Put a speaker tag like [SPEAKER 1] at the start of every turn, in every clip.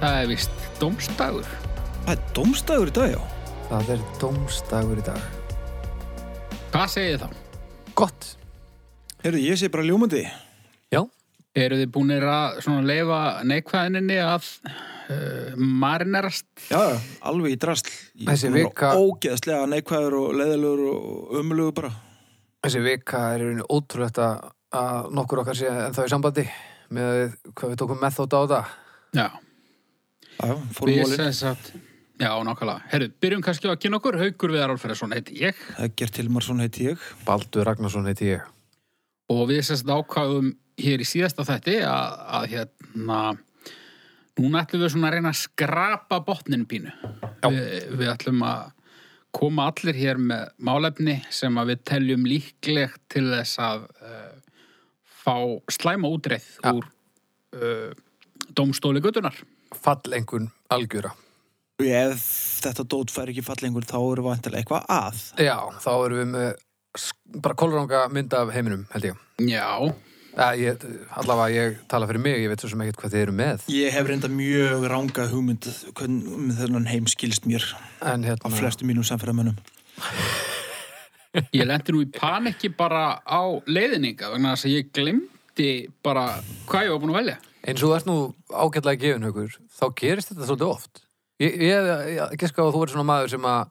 [SPEAKER 1] það er vist domstagur.
[SPEAKER 2] Það er domstagur í dag, já.
[SPEAKER 3] Það er dómstagur í dag.
[SPEAKER 1] Hvað segið þið þá?
[SPEAKER 3] Gott.
[SPEAKER 2] Herðu, ég sé bara ljómandi.
[SPEAKER 3] Já.
[SPEAKER 1] Eru þið búinir að svona leifa neikvæðinni að uh, marinerast?
[SPEAKER 2] Já, já, alveg í drasl. Ég er
[SPEAKER 3] Þessi
[SPEAKER 2] búin að vera
[SPEAKER 3] vika-
[SPEAKER 2] Ógeðslega neikvæður og leiðilegur og umlugur bara.
[SPEAKER 3] Þessi vika er einu ótrúlegt að að nokkur okkar sé en þá í sambandi með að við, hvað við tókum með þótt á það.
[SPEAKER 1] Já,
[SPEAKER 2] Já, já, fórum
[SPEAKER 1] við
[SPEAKER 2] mólinn.
[SPEAKER 1] sem sagt... Já, nákvæmlega. Herru, byrjum kannski á að kynna okkur. Haukur Viðar Alfredsson heiti ég
[SPEAKER 2] Egger Tilmarsson heiti ég.
[SPEAKER 3] Baldur Ragnarsson heiti ég.
[SPEAKER 1] og við sem sagt ákvæðum hér í síðasta þætti að, að hérna núna ætlum við svona að reyna að skrapa botnin pínu. Við, við ætlum að koma allir hér með málefni sem að við teljum líklegt til þess að uh, fá slæma útreið
[SPEAKER 3] Já.
[SPEAKER 1] úr uh, dómstóli göttunar.
[SPEAKER 3] Fallengun algjöra.
[SPEAKER 2] Og ef þetta dót fær ekki fallengur, þá eru vantilega eitthvað að.
[SPEAKER 3] Já, þá erum við með sk- bara kolranga mynd af heiminum, held ég.
[SPEAKER 1] Já,
[SPEAKER 3] Ja, ég allavega, ég tala fyrir mig, ég veit svo sem ekkert hvað þið eru með.
[SPEAKER 2] Ég hef reynda mjög ranga hugmynd hvernig um þennan heim skilst mér
[SPEAKER 3] En
[SPEAKER 2] á
[SPEAKER 3] hérna,
[SPEAKER 2] flestu mínum samfélagamönnum.
[SPEAKER 1] ég lendi nú í panikki bara á leiðninga vegna þess að ég glemdi bara hvað ég var búin að velja.
[SPEAKER 3] eins og þú ert nú ágætlega gefin, haukur, þá gerist þetta svolítið oft. Ég, ég, ég giska á að þú verður svona maður sem að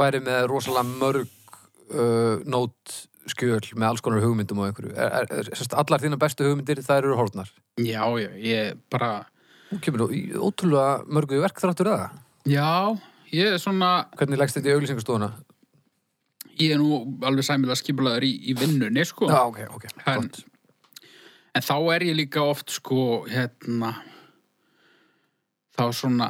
[SPEAKER 3] væri með rosalega mörg uh, nót skjöl með alls konar hugmyndum og einhverju. Er, er, er, sérst, allar þína bestu hugmyndir, þær eru hórnar.
[SPEAKER 1] Já, já, ég bara...
[SPEAKER 3] Þú kemur nú í ótrúlega mörgu í verk þráttur það.
[SPEAKER 1] Já, ég er svona,
[SPEAKER 3] Hvernig leggst þetta í auglýsingastofuna?
[SPEAKER 1] ég er nú alveg sæmilega skipulaður í, í vinnunni, sko.
[SPEAKER 3] Já, ok, ok.
[SPEAKER 1] en,
[SPEAKER 3] Gott.
[SPEAKER 1] en þá er ég líka oft, sko, hérna, þá svona,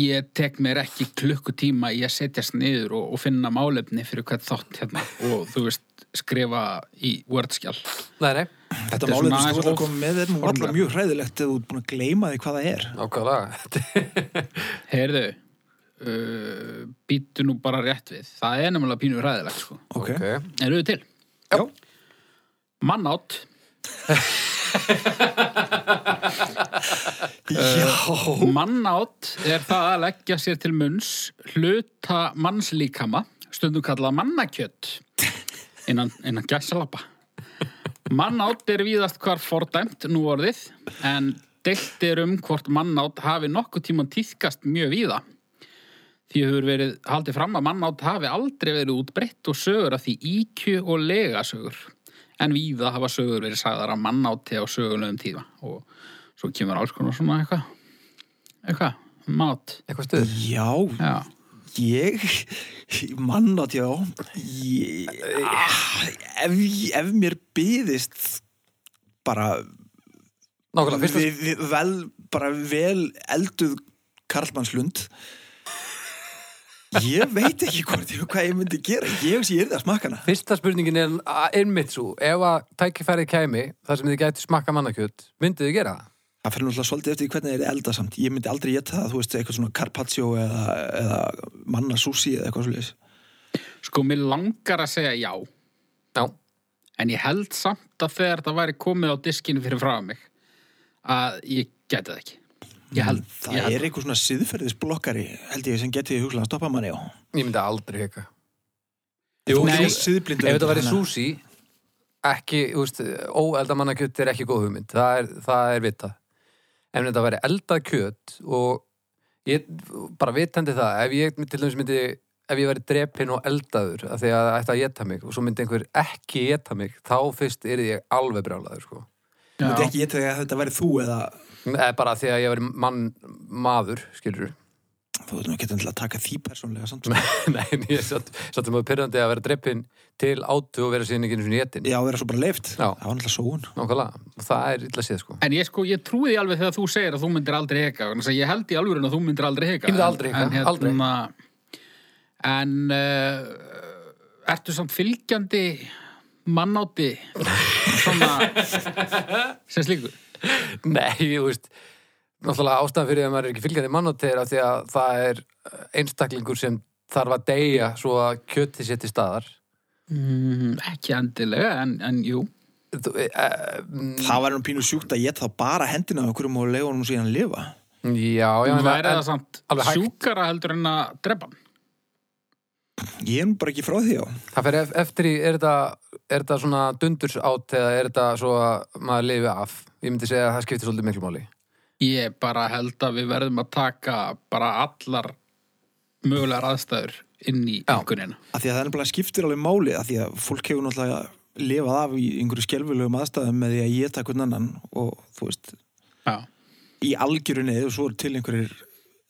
[SPEAKER 1] ég tek mér ekki klukkutíma í að setjast niður og, og finna málefni fyrir hvert þátt, hérna, og þú veist, skrifa í Wordskjall.
[SPEAKER 3] Nei, nei,
[SPEAKER 2] Þetta
[SPEAKER 1] er
[SPEAKER 2] málið
[SPEAKER 1] svona
[SPEAKER 2] sem
[SPEAKER 1] aðeins
[SPEAKER 2] þú ætlar að
[SPEAKER 1] of-
[SPEAKER 2] koma með er nú alltaf
[SPEAKER 1] formlegt.
[SPEAKER 2] mjög hræðilegt ef þú ert búin að gleyma því hvað það er.
[SPEAKER 3] ákvæðlega.
[SPEAKER 1] Heyrðu, uh, býtu nú bara rétt við. Það er nefnilega pínu ræðilegt, sko.
[SPEAKER 2] Ok.
[SPEAKER 1] Eru þið til?
[SPEAKER 2] Já.
[SPEAKER 1] Mannátt.
[SPEAKER 2] Já.
[SPEAKER 1] Eh. Mannátt er það að leggja sér til munns hluta mannslíkama, stundum kallað mannakjött innan, innan gæsalappa. Mannátt er víðast hvar fordæmt nú orðið, en deilt er um hvort mannátt hafi nokkuð tíma týðkast mjög víða. Því hefur verið haldið fram að mannátt hafi aldrei verið útbreytt og sögur af því íkju og legasögur. En víða hafa sögur verið sagðar af mannátti á sögulegum tíma og svo kemur alls konar svona eitthvað eitthvað, mát
[SPEAKER 3] Eitthvað stuður.
[SPEAKER 2] Já,
[SPEAKER 1] já.
[SPEAKER 2] ég, mannátt, já, ég, ah, ef, ef mér byðist bara,
[SPEAKER 3] Nákvæmlega, fyrsta
[SPEAKER 2] við, við, vel, bara vel elduð karlmannslund, ég veit ekki hvort, ég- hvað ég myndi gera, ég hugsi ég er það að smakka hana.
[SPEAKER 3] Fyrsta spurningin er að- einmitt svo, ef að tækifærið kæmi, þar sem þið gæti smakka mannakjöt, myndið þið gera það?
[SPEAKER 2] Það fyrir náttúrulega svolítið eftir því hvernig það er eldað samt. Ég myndi aldrei geta það, þú veist, eitthvað svona carpaccio eða, eða manna sushi eða eitthvað svolítið.
[SPEAKER 1] sko, mér langar að segja já
[SPEAKER 3] Já,
[SPEAKER 1] en ég held samt að þegar það væri komið á diskinu fyrir frá mig að ég geti það ekki ég
[SPEAKER 3] Mm,
[SPEAKER 1] held,
[SPEAKER 2] Það
[SPEAKER 1] ég held
[SPEAKER 2] er eitthvað svona siðferðisblokkari, held ég, sem getið huglega að stoppa manni á.
[SPEAKER 3] ég myndi aldrei heka.
[SPEAKER 2] Jú,
[SPEAKER 1] nei,
[SPEAKER 2] siðblindu.
[SPEAKER 3] Ef þetta væri sushi, ekki, þú veist, óelda mannakjöt er ekki góð hugmynd, það er, það er vita. Ef þetta væri eldað kjöt og ég bara vitandi það, ef ég til dæmis myndi, ef ég væri drepinn og eldaður, af því að það ætti að geta mig og svo myndi einhver ekki geta mig, þá fyrst er ég alveg brjálaður, sko.
[SPEAKER 2] Þú myndi
[SPEAKER 1] já,
[SPEAKER 2] ekki getið að þetta væri þú eða
[SPEAKER 3] Eða bara því að ég veri mann, maður, skilur
[SPEAKER 2] þú veit nú ekki endilega að taka því persónlega samt. sko.
[SPEAKER 3] Nei, en ég er satt, satt um að pyrrandi að vera dreppin til átu og vera síðan ekki einu sinni getin.
[SPEAKER 2] Já, vera svo bara leift.
[SPEAKER 3] Já.
[SPEAKER 2] Það var náttúrulega sóun.
[SPEAKER 3] Nákvæmlega, og það er illa séð sko.
[SPEAKER 1] en ég sko, ég trúi því alveg þegar þú segir að þú myndir aldrei heka vegna þess að ég held í alveg að þú myndir aldrei heka
[SPEAKER 3] Ég myndi aldrei hika,
[SPEAKER 1] en, hérna,
[SPEAKER 3] aldrei.
[SPEAKER 1] en uh, ertu samt fylgjandi mannátti svona sem slíkur
[SPEAKER 3] Nei, þú veist, náttúrulega ástæðan fyrir að maður er ekki fylgjandi mannóttir af því að það er einstaklingur sem þarf að deyja svo að kjöti sér til staðar.
[SPEAKER 1] Mm, ekki endilega, en, en jú.
[SPEAKER 3] Þú, e, mm, e, mm,
[SPEAKER 2] Það var nú pínu sjúkt að geta þá bara hendina af einhverjum og leiða honum síðan að lifa.
[SPEAKER 3] Já, já,
[SPEAKER 1] Hún
[SPEAKER 3] en-
[SPEAKER 1] væri það
[SPEAKER 3] en-
[SPEAKER 1] samt
[SPEAKER 3] alveg hægt.
[SPEAKER 1] sjúkara heldur en að drepa hann.
[SPEAKER 2] Ég er nú bara ekki frá því á.
[SPEAKER 3] Það fer ef- eftir í, er þetta, er þetta svona dundursátt eða er þetta svo að maður lifi af? Ég myndi segja að það skiptir svolítið miklu máli.
[SPEAKER 1] Ég bara held að við verðum að taka bara allar mögulegar aðstæður inn í
[SPEAKER 3] Já.
[SPEAKER 1] einhvernina.
[SPEAKER 2] Af því að það er nefnilega skiptir alveg máli af því að fólk hefur náttúrulega lifað af í einhverju skelfilegum aðstæðum með því að ég takk hvern annan og þú veist,
[SPEAKER 1] Já.
[SPEAKER 2] í algjörunni og svo eru til einhverjir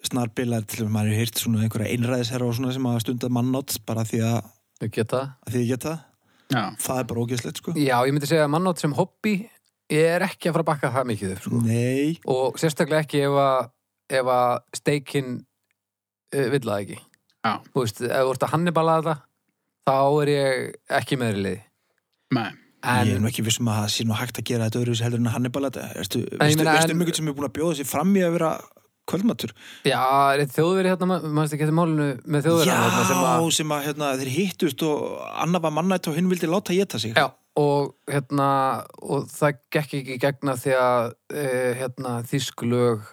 [SPEAKER 2] snarbilar til að maður hefur heyrt svona einhverja einræðisherra og svona sem að stunda mannátt bara af því að,
[SPEAKER 3] Þau geta.
[SPEAKER 2] að því að geta það.
[SPEAKER 1] Já.
[SPEAKER 2] það er bara ógeðslegt sko.
[SPEAKER 3] Já, ég myndi segja að mannátt sem hobby ég er ekki að fara að bakka það mikið upp. Sko.
[SPEAKER 2] Nei,
[SPEAKER 3] Og sérstaklega ekki ef að, ef að steikin uh, vill það ekki.
[SPEAKER 1] Já.
[SPEAKER 3] Þú veist, ef þú ert að hannibala þetta þá er ég ekki með meðri liði.
[SPEAKER 1] Nei.
[SPEAKER 2] ég er
[SPEAKER 3] En,
[SPEAKER 2] nú ekki vissum að það sé nú hægt að gera þetta öðru heldur en að Hannibal þetta. Ertu,
[SPEAKER 3] Nei, ég
[SPEAKER 2] veistu,
[SPEAKER 3] meina,
[SPEAKER 2] veistu
[SPEAKER 3] en-
[SPEAKER 2] um ykkur sem er búin að bjóða sér fram í að vera kvöldmatur?
[SPEAKER 3] já, er eitt þjóðveri hérna, ma- maður ekki eftir málinu með hérna þjóðveri
[SPEAKER 2] Já, sem að, hérna, þeir hittust og annar var mannætt og hinn vildi láta geta sig.
[SPEAKER 3] Já, og hérna og það gekk ekki í gegna því að e, hérna þýskulög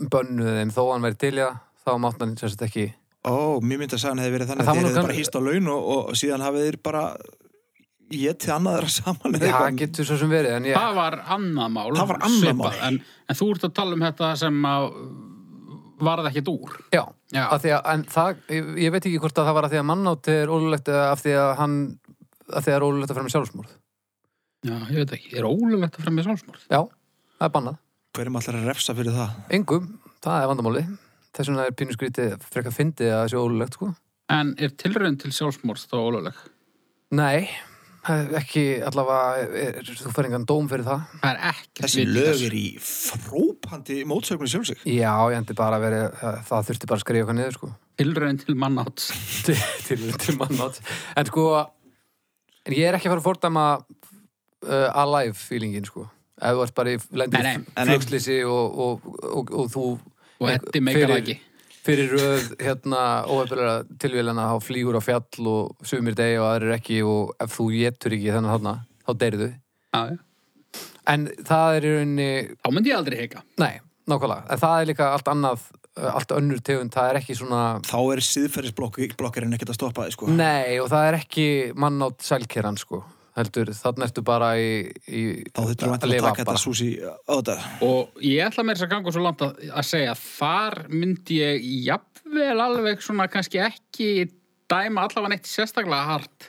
[SPEAKER 3] bönnuðu þeim þó hann væri til í það þá mátt hann sem sagt ekki
[SPEAKER 2] Ó, mér myndi að sagðan hefði verið
[SPEAKER 3] En
[SPEAKER 2] þannig að þeir
[SPEAKER 3] það var nú
[SPEAKER 2] hefði bara
[SPEAKER 3] kann-
[SPEAKER 2] hýst á laun og, og síðan hafið þeir bara getið annaðra saman eða
[SPEAKER 3] það
[SPEAKER 2] eitthvað.
[SPEAKER 3] getur svo sem verið en ég,
[SPEAKER 1] Það var annað mál.
[SPEAKER 2] Það var annað mál.
[SPEAKER 1] En, en þú ert að tala um þetta sem að varð ekkert úr.
[SPEAKER 3] já,
[SPEAKER 1] Já.
[SPEAKER 3] af því að en það, ég, ég veit ekki hvort að það var að því að mannátt er ólulegt eða af því að hann af því að það er ólulegt að fremja sjálfsmorð
[SPEAKER 1] Já, ég veit ekki. Er ólulegt að fremja sjálfsmorð?
[SPEAKER 3] já, það er bannað,
[SPEAKER 2] Hverjum allar að refsa fyrir það?
[SPEAKER 3] engum, það er vandamáli þess vegna er pínusgrítið frekar fyndið að það sé ólulegt sko
[SPEAKER 1] En er tilraun til sjálfsmorð þá óluleg?
[SPEAKER 3] nei, það er ekki allavega, er, er, þú fer engan dóm fyrir það
[SPEAKER 1] Það er ekkert
[SPEAKER 2] Þessi
[SPEAKER 1] vit í
[SPEAKER 2] lög
[SPEAKER 1] þessu.
[SPEAKER 2] er í frópandi mótsögnu sjálf sig.
[SPEAKER 3] Já, ég endi bara að vera, það, það þurfti bara að skrifa eitthvað niður, sko.
[SPEAKER 1] Tilraun til mannátt.
[SPEAKER 3] til, til, til mannátt. En sko, en ég er ekki að fara að fordama uh, alive feelingin, sko. Ef þú ert bara í lendir
[SPEAKER 1] Nei, nei,
[SPEAKER 2] nei.
[SPEAKER 3] flugslýsi og, og, og, og þú...
[SPEAKER 1] Og Eddi meikar það
[SPEAKER 3] Eh, fyrir-
[SPEAKER 1] ekki.
[SPEAKER 3] Fyrir röð, hérna, óefilega tilvíðlega þá flýgur á fjall og sumir degi og aðrir ekki og ef þú getur ekki þennan þarna, þá deyrðu.
[SPEAKER 1] Já, já.
[SPEAKER 3] En það er í rauninni
[SPEAKER 1] Þá myndi ég aldrei heika.
[SPEAKER 3] Nei, nákvæmlega. En það er líka allt annað, uh, allt önnur tegund, það er ekki svona...
[SPEAKER 2] Þá er síðferðisblokkurinn ekkert að stoppa þið sko.
[SPEAKER 3] Nei, og það er ekki mannátt sælkeran, sko. Heldur, þannig ertu bara í... í
[SPEAKER 2] Þá þurftum við að taka þetta súsi á þetta.
[SPEAKER 1] Og ég ætla mér þess að ganga svo langt að, að segja að þar myndi ég jafnvel alveg svona kannski ekki dæma allavega neitt sérstaklega hart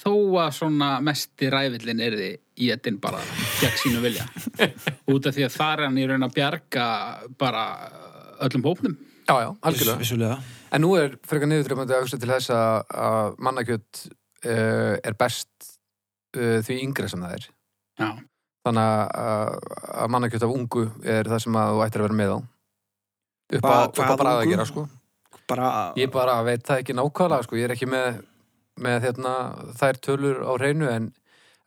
[SPEAKER 1] þó að svona mesti ræfillin er því í ettin bara gegn sínu vilja. Út af því að þar er hann í raun að bjarga bara öllum hópnum.
[SPEAKER 3] Já, já, algjörlega.
[SPEAKER 2] Vissulega.
[SPEAKER 3] En nú er frekar niðurdrömmandi að hugsa til þess að- að mannakjöt uh, er best uh, því yngra sem það er.
[SPEAKER 1] Já.
[SPEAKER 3] Þannig að- að, að mannakjöt af ungu er það sem að þú ættir að vera með á. Upp á,
[SPEAKER 2] Hva-
[SPEAKER 3] upp á
[SPEAKER 2] hvað
[SPEAKER 3] bara að
[SPEAKER 2] ungu?
[SPEAKER 3] gera, sko.
[SPEAKER 2] Bara,
[SPEAKER 3] Ég bara veit það ekki nákvæmlega, sko, ég er ekki með, með hérna, þær tölur á reynu en,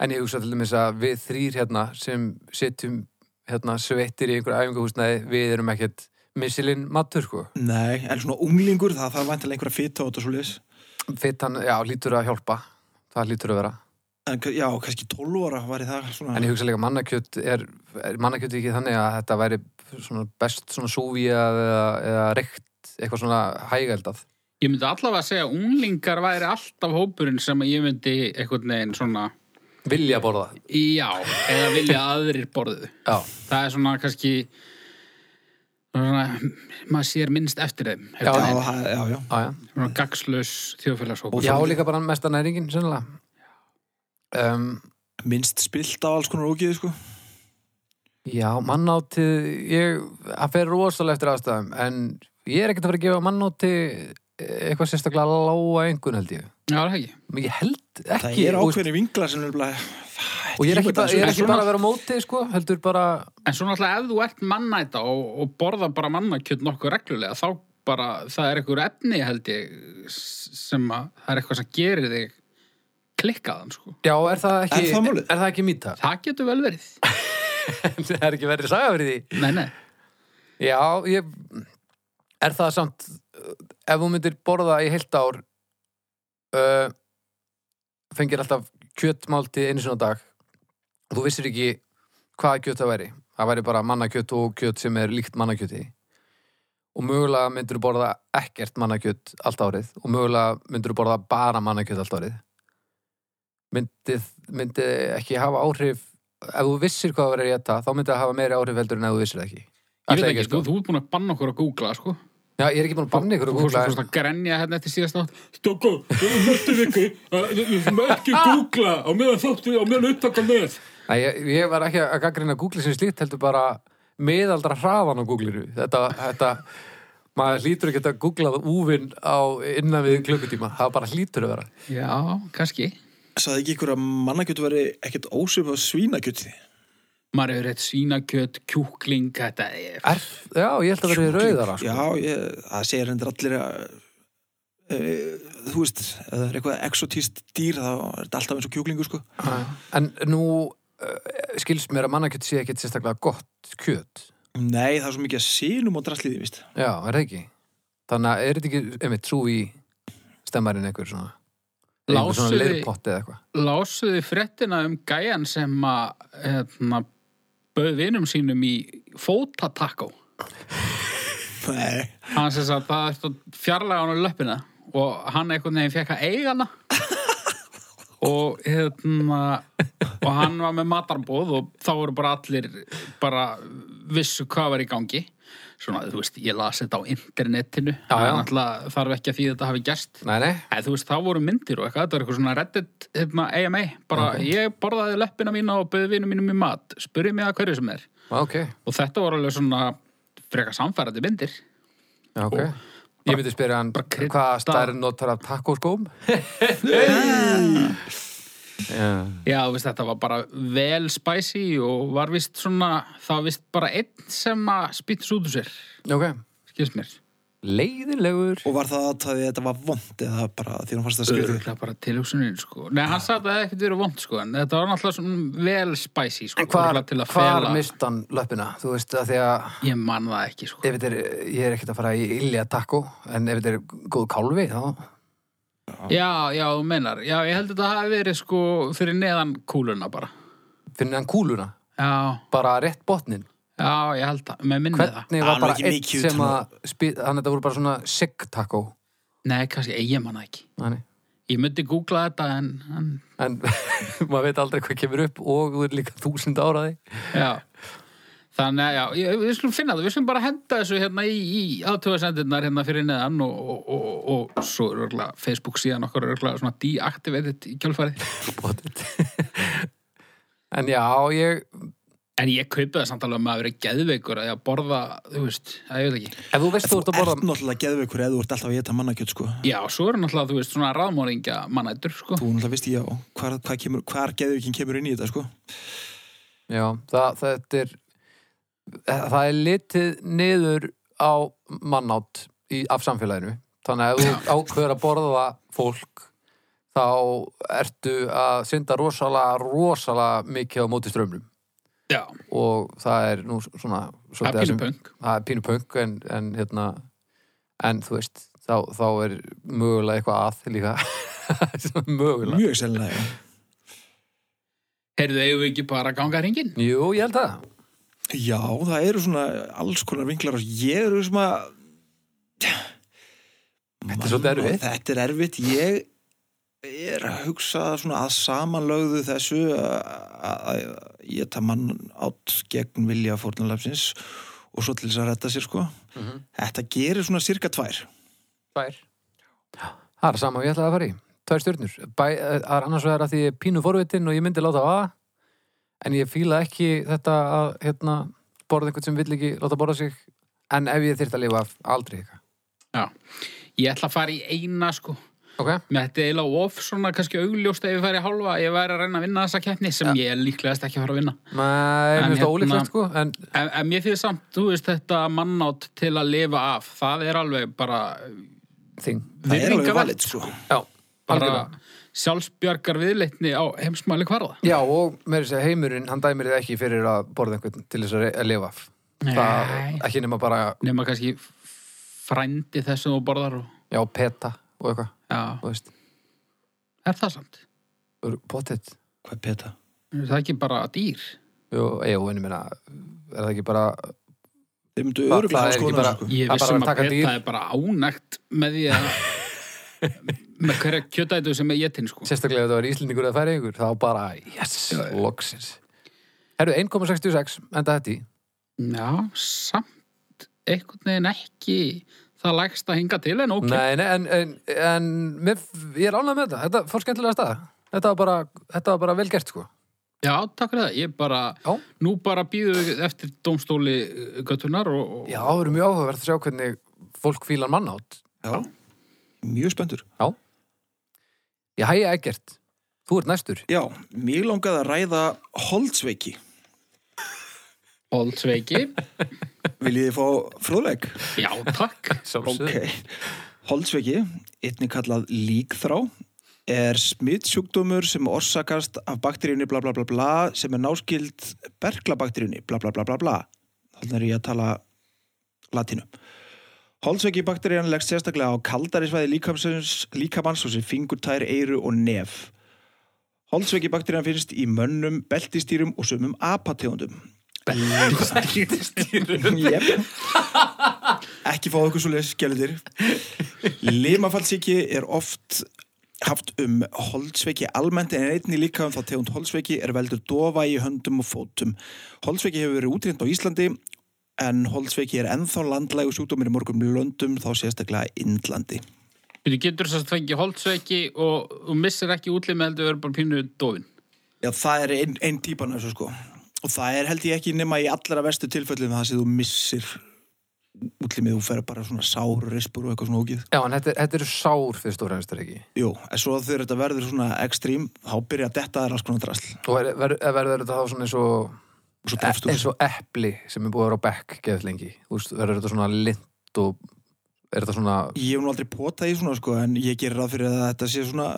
[SPEAKER 3] en ég hugsa til dæmis að við þrýr hérna sem sitjum hérna sveittir í einhverju æfingahúsnaði, við erum ekkert misilinn matur, sko.
[SPEAKER 2] nei, en svona unglingur, það þarf vantilega einhverja fita á þetta svo liðs.
[SPEAKER 3] Fittan, já, lítur að hjálpa, það lítur að vera.
[SPEAKER 2] En ka- já, kannski 12 ára var það svona.
[SPEAKER 3] En ég hugsa líka að mannakjöt er, er mannakjöt ekki þannig að þetta væri svona best svona súvíjað eða, eða reykt, eitthvað svona hægældað.
[SPEAKER 1] Ég myndi allavega segja að unglingar væri alltaf hópurinn sem að ég myndi einhvern veginn svona
[SPEAKER 3] Vilja borða,
[SPEAKER 1] já, eða vilja að aðrir borðuðu.
[SPEAKER 3] já.
[SPEAKER 1] það er svona kannski svona, maður sér minnst eftir þeim
[SPEAKER 2] já,
[SPEAKER 1] einhvern veginn.
[SPEAKER 2] það- já, já.
[SPEAKER 3] Á, já.
[SPEAKER 1] svona gagslaus þjóðfélagshóp
[SPEAKER 3] Já, líka bara mesta næringin, sennilega. Um,
[SPEAKER 2] Minnst spilt á alls konar ógeði, sko.
[SPEAKER 3] já, mannátti, ég, það fer rosalega eftir aðstæðum, en ég er ekkert að fara að gefa mannátti eitthvað sérstaklega lága engun, held ég.
[SPEAKER 1] já, það er ekki
[SPEAKER 3] Ég held ekki.
[SPEAKER 2] Það er
[SPEAKER 3] og-
[SPEAKER 2] ákveðni vingla sem er bara...
[SPEAKER 3] Og ég er ekki, bara, ég er
[SPEAKER 1] En
[SPEAKER 3] ekki
[SPEAKER 1] svona-
[SPEAKER 3] bara að vera á móti, sko, heldur bara,
[SPEAKER 1] en svona alltaf ef þú ert mannæta og, og borða bara mannakjöt nokkuð reglulega þá bara, það er einhver efni held ég s- sem að það er eitthvað sem gerir þig klikkaðan sko
[SPEAKER 3] já, er það ekki,
[SPEAKER 2] Er það málið?
[SPEAKER 3] er það ekki mýta?
[SPEAKER 1] það getur vel verið
[SPEAKER 3] það er ekki verið saga fyrir því.
[SPEAKER 1] nei, nei.
[SPEAKER 3] Já, ég, er það samt uh, ef þú myndir borða í heilt ár uh, fengir alltaf kjötmálti einu sinna á dag og þú vissir ekki hvaða kjöt það væri það væri bara mannakjöt og kjöt sem er líkt mannakjöti og mögulega myndur þú borða ekkert mannakjöt allt árið og mögulega myndur þú borða bara mannakjöt allt árið myndi, myndi ekki hafa áhrif ef þú vissir hvað það verið að geta þá myndi það hafa meiri áhrif heldur en ef þú vissir það ekki
[SPEAKER 1] Ég veit
[SPEAKER 3] Ætli
[SPEAKER 1] ekki, sko, þú ert búin að banna okkur að googla, sko.
[SPEAKER 3] Já, ég er ekki búin að banna ykkur
[SPEAKER 1] Þú
[SPEAKER 3] að
[SPEAKER 1] fórst
[SPEAKER 3] googla
[SPEAKER 1] að fórst að grenja hérna eftir síðast átt. Stokko, við erum þetta viku, við erum ekki googla á meðan þáttu, á meðan upptaka með.
[SPEAKER 3] Æ, ég, ég var ekki að gaggrina Google sem slíkt heldur bara meðaldra hraðan á Google-inu þetta, þetta maður hlýtur ekki að googlað úvinn á innan við klukkutíma, það bara hlýtur að vera
[SPEAKER 1] Já, kannski.
[SPEAKER 2] Saði ekki ykkur að mannakjötu veri ekkert ósif á svínakjöti?
[SPEAKER 1] Maður hefur rétt svínakjöt, kjúkling, þetta er...
[SPEAKER 3] er, Já, ég held að vera rauðara sko.
[SPEAKER 2] Já, ég, það segir hendur allir að e, þú veist, ef það er eitthvað exotíst dýr, þá er þetta alltaf eins og kjúklingur sko.
[SPEAKER 3] En nú uh, skils mér að mannakjöt sé ekkit sérstaklega gott kjöt
[SPEAKER 2] Nei, það er svo mikið að sinum og drasliði, víst.
[SPEAKER 3] Já, er það ekki Þannig að er þetta ekki, einmitt, trú í stemmarinn einhver svona einhver svona
[SPEAKER 1] Lásuði-
[SPEAKER 3] leirpotti eða eitthvað
[SPEAKER 1] Lásuði fréttina um gæjan sem að, hérna, bauð vinum sínum í fótatakó.
[SPEAKER 2] Nei.
[SPEAKER 1] Hann sem sagt, það er stóð fjarlæga hann á löppina og hann einhvern veginn fekk að eiga hana og hérna og hann var með matarbóð og þá voru bara allir bara vissu hvað var í gangi svona, þú veist, ég las þetta á internetinu
[SPEAKER 3] Já, já.
[SPEAKER 1] alltaf þarf ekki að því þetta hafi gerst
[SPEAKER 3] Nei, nei,
[SPEAKER 1] Eða, þú veist, þá voru myndir og eitthvað, þetta var eitthvað svona reddit hérna, AMA, bara ég borðaði löppina mína og bauði vinum mínum í mat spurði mig að hverju sem er
[SPEAKER 3] ok,
[SPEAKER 1] og þetta voru alveg svona frekar samfærandi myndir
[SPEAKER 3] já, ok Ég myndi spyrja hann
[SPEAKER 1] krydda-
[SPEAKER 3] hvað stærn notar af takkóskóm
[SPEAKER 1] Já, þú veist, þetta var bara vel spicy og var vist svona, það var vist bara einn sem að spýttis út úr sér,
[SPEAKER 3] Ok,
[SPEAKER 1] skilst mér.
[SPEAKER 3] leiðinlegur
[SPEAKER 2] Og var það aðtæði að þetta var vond eða bara því hann
[SPEAKER 1] Eh,
[SPEAKER 2] fannst það skrítið?
[SPEAKER 1] Öruglega bara tilhugsunin, sko. Nei, hann sagði að það hefði ekkert verið vond, sko, en þetta var náttúrulega svona vel spicy, sko.
[SPEAKER 3] Hvar,
[SPEAKER 1] örugglega til að
[SPEAKER 3] hvar
[SPEAKER 1] fela.
[SPEAKER 3] mist hann löppina? Þú veist að því að
[SPEAKER 1] Ég man það ekki, sko.
[SPEAKER 3] ef þetta er, ég er ekkert að fara í illja takkó en ef þetta er góð kálfi þá
[SPEAKER 1] Já, já, þú meinar. Já, ég held að þetta hafi verið, sko, fyrir neðan kúluna bara.
[SPEAKER 3] finnir hann kúluna
[SPEAKER 1] Já,
[SPEAKER 3] bara rétt botnin
[SPEAKER 1] já, ég held það. Með minni það.
[SPEAKER 3] Hvernig
[SPEAKER 2] Hann
[SPEAKER 3] var
[SPEAKER 2] var
[SPEAKER 3] bara
[SPEAKER 2] ekki
[SPEAKER 3] einn
[SPEAKER 2] mikið
[SPEAKER 3] sem
[SPEAKER 2] utan á-
[SPEAKER 3] að spi- þannig að þetta voru bara svona sig takkó
[SPEAKER 1] Nei, kannski, ég man það ekki.
[SPEAKER 3] Þannig
[SPEAKER 1] Ég myndi googla þetta, en, en
[SPEAKER 3] En maður veit aldrei hvað kemur upp og þú er líka þúsund áraði
[SPEAKER 1] Já. Þannig að, já, ég- við slum finna það, við slum bara henda þessu hérna í, í aðtöfasendirnar hérna fyrir neðan og, og, og, og svo er örgulega Facebook síðan okkar er örgulega svona deactivated í kjálfarið.
[SPEAKER 3] Botnit En já, ég
[SPEAKER 1] En ég kaupi það samt alveg að maður verið geðveikur að ég að borða, þú veist, að ég veit ekki.
[SPEAKER 3] Ef þú veist þú ert að borða
[SPEAKER 2] Ert náttúrulega geðveikur eða þú ert alltaf að geta mannakjöt sko.
[SPEAKER 1] Já, svo er náttúrulega, þú veist, svona ráðmóringja mannættur, sko.
[SPEAKER 2] Þú náttúrulega veist ég á hvar, hvað kemur, hvar geðveikin kemur inn í þetta sko.
[SPEAKER 3] Já, það, þetta er það er litið niður á mannátt í, af samfélaginu þannig að ef þú ákveður að borða fólk þá ertu að synda rosalega rosalega mikið á móti strömmlum
[SPEAKER 1] Já,
[SPEAKER 3] og það er nú svona
[SPEAKER 1] það
[SPEAKER 3] svolítið
[SPEAKER 1] er pínu pöng.
[SPEAKER 3] það er pínu punk en, en hérna en þú veist, þá, þá er mögulega eitthvað að líka mögulega
[SPEAKER 2] Mjög sennilega. já.
[SPEAKER 1] Heyrðu, eigum við ekki bara að ganga hringin?
[SPEAKER 3] Jú, ég held það
[SPEAKER 2] Já, það eru svona alls konar vinklar og ég eru sem að
[SPEAKER 3] Þetta er svolítið erfitt.
[SPEAKER 2] Þetta er erfitt, ég er að hugsa svona að samanlögðu þessu að ég það mann átt gegn vilja fórnalafsins og svo til þess að retta sér sko
[SPEAKER 3] Mhm.
[SPEAKER 2] Þetta gerir svona cirka tvær
[SPEAKER 3] Tvær Það er sama og ég ætlaði að fara í Tvær stjörnur Bæ, eh, Það er annars vegar að því ég er pínu forvitin og ég myndi láta að En ég fíla ekki þetta að hérna, borða einhvern sem vill ekki láta borða sig En ef ég þyrfti að lifa af aldrei eitthvað
[SPEAKER 1] Já. Ég ætla að fara í eina, sko.
[SPEAKER 3] Ok
[SPEAKER 1] Mér þetta er eiginlega of svona kannski augljóst ef ég færi hálfa, ég væri að reyna að vinna þessa keppni sem ég er líklegast ekki að fara að vinna.
[SPEAKER 3] Nei,
[SPEAKER 1] En
[SPEAKER 3] mér finnst það
[SPEAKER 1] hérna-
[SPEAKER 3] ólíklegt sko En
[SPEAKER 1] En, en mér fyrir samt, þú veist, þetta mannátt til að lifa af, það er alveg bara
[SPEAKER 3] þing
[SPEAKER 2] Það er alveg
[SPEAKER 1] virðingarvert,
[SPEAKER 2] valið sko
[SPEAKER 3] Já,
[SPEAKER 1] bara
[SPEAKER 3] algjörlega
[SPEAKER 1] sjálfsbjargar viðleitni á heimsmæli hvarða.
[SPEAKER 3] Já, og mér segja heimurinn, hann dæmir þið ekki fyrir að borða einhvern til þess að, re- að lifa af það,
[SPEAKER 1] Nei.
[SPEAKER 3] Ekki nema bara,
[SPEAKER 1] Nefna kannski frændi þessum og borðar og,
[SPEAKER 3] já, peta og eitthvað,
[SPEAKER 1] já,
[SPEAKER 3] þú veist
[SPEAKER 1] er það samt?
[SPEAKER 3] Pottet
[SPEAKER 2] Hvað er peta?
[SPEAKER 1] Er það ekki bara dýr?
[SPEAKER 3] Jú, ég, og minna, er það ekki bara
[SPEAKER 2] Þeir myndu
[SPEAKER 3] Það-
[SPEAKER 2] öruglega að
[SPEAKER 3] það er ekki
[SPEAKER 2] skoða
[SPEAKER 3] bara-
[SPEAKER 2] sko.
[SPEAKER 1] Ég
[SPEAKER 3] Það er bara
[SPEAKER 1] vissum að
[SPEAKER 3] að taka dýr.
[SPEAKER 1] Peta er bara ánægt með því að með hverja kjötætu sem er getinn sko.
[SPEAKER 3] sérstaklega ef það var íslendingur eða færingur þá bara, yes, loksins Herru, 1,66 enda þetta í
[SPEAKER 1] Já, samt einhvern veginn ekki það lægst að hinga til en ok
[SPEAKER 3] Nei, nei, en, en, en mér, ég er ánægð með þetta, þetta fór skemmtilega af stað Þetta var bara, þetta var bara vel gert, sko
[SPEAKER 1] Já, takk fyrir það, ég bara
[SPEAKER 3] Já.
[SPEAKER 1] nú bara býðu við eftir dómstóli uh, göttunar og, og
[SPEAKER 3] Já, það verður mjög áhugavert að sjá hvernig fólk fílar mann átt
[SPEAKER 2] Já, mjög spenntur
[SPEAKER 3] Ég hæja ekkert, þú ert næstur
[SPEAKER 2] Já, mér langaði að ræða holdsveiki
[SPEAKER 1] holdsveiki
[SPEAKER 2] Viljið þið fá fróðleik?
[SPEAKER 1] Já, takk
[SPEAKER 2] Ok Holdsveiki, einnig kallað líkþrá er smittsjúkdómur sem orsakast af bakteríunni bla bla bla bla sem er náskild berklabakteríunni bla bla bla bla bla þannig er ég að tala latínu Holdsveiki bakterían leggst sérstaklega á kaldari svæði líkamsins- líkamans og sem fingur, tær, eiru og nef Holdsveiki bakterían finnst í mönnum, beltistýrum og sumum apategundum Jep. ekki fá okkur svo leið skjöldir limafallsíki er oft haft um holdsveiki almennt en einnig líka um þá tegund holdsveiki er veldur dofa í höndum og fótum holdsveiki hefur verið útrýnd á Íslandi en holdsveiki er ennþá landlægu sjúkdómir í morgum löndum þá sérstaklega Indlandi
[SPEAKER 1] Þú getur svo að fengi holdsveiki og, og missir ekki útlið með heldur verður bara pínu dofin.
[SPEAKER 2] Já, það er einn ein típan þessu sko og það er held ég ekki nema í allra verstu tilfellum það sem þú missir útlimið, þú fer bara svona sár, rispur og eitthvað svona ógið
[SPEAKER 3] Já, en þetta, þetta eru sár fyrir stóra henstur ekki
[SPEAKER 2] Jú, en svo þegar þetta verður svona ekstrím, þá byrja að detta þær alls konar drasl
[SPEAKER 3] Og er- ver- verður þetta þá svona eins og
[SPEAKER 2] og svo drefstu
[SPEAKER 3] E- eins
[SPEAKER 2] þessu.
[SPEAKER 3] og epli sem er búið að vera á bekk geðt lengi, þú veist, verður þetta svona lint og er þetta svona
[SPEAKER 2] Ég hef nú aldrei potað í svona sko, en ég gerir ráð fyrir að þetta sé svona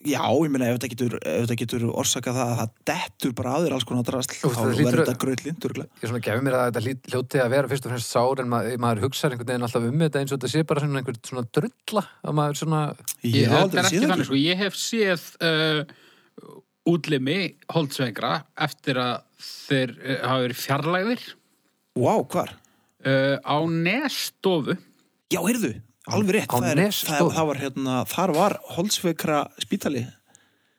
[SPEAKER 2] Já, ég meina ef þetta getur, ef þetta getur orsakað það að það dettur bara að þér alls konar drasl
[SPEAKER 3] Þú veist,
[SPEAKER 2] þá
[SPEAKER 3] það hlýtur
[SPEAKER 2] verður
[SPEAKER 3] að-
[SPEAKER 2] þetta gröðlind
[SPEAKER 3] ég svona gefur mér að þetta hlýt- hljóti að vera fyrst og fremst sár en maður, maður hugsar einhvern veginn alltaf um þetta eins og þetta sé bara svona einhvern svona drulla að maður svona,
[SPEAKER 1] Ég,
[SPEAKER 2] Ég hef
[SPEAKER 1] þetta er
[SPEAKER 2] aldrei
[SPEAKER 1] ekki
[SPEAKER 2] séð
[SPEAKER 1] þannig,
[SPEAKER 2] þetta
[SPEAKER 1] sko. Ég hef séð uh, útlimi holdsveikra eftir að þeir uh, hafa verið fjarlægðir
[SPEAKER 2] Vá, hvar?
[SPEAKER 1] uh, á nestofu.
[SPEAKER 2] Já, heyrðu, alveg rétt
[SPEAKER 3] Á
[SPEAKER 2] það, er,
[SPEAKER 3] Nesstofu.
[SPEAKER 2] það, það var hérna, þar var Holzveikra spítali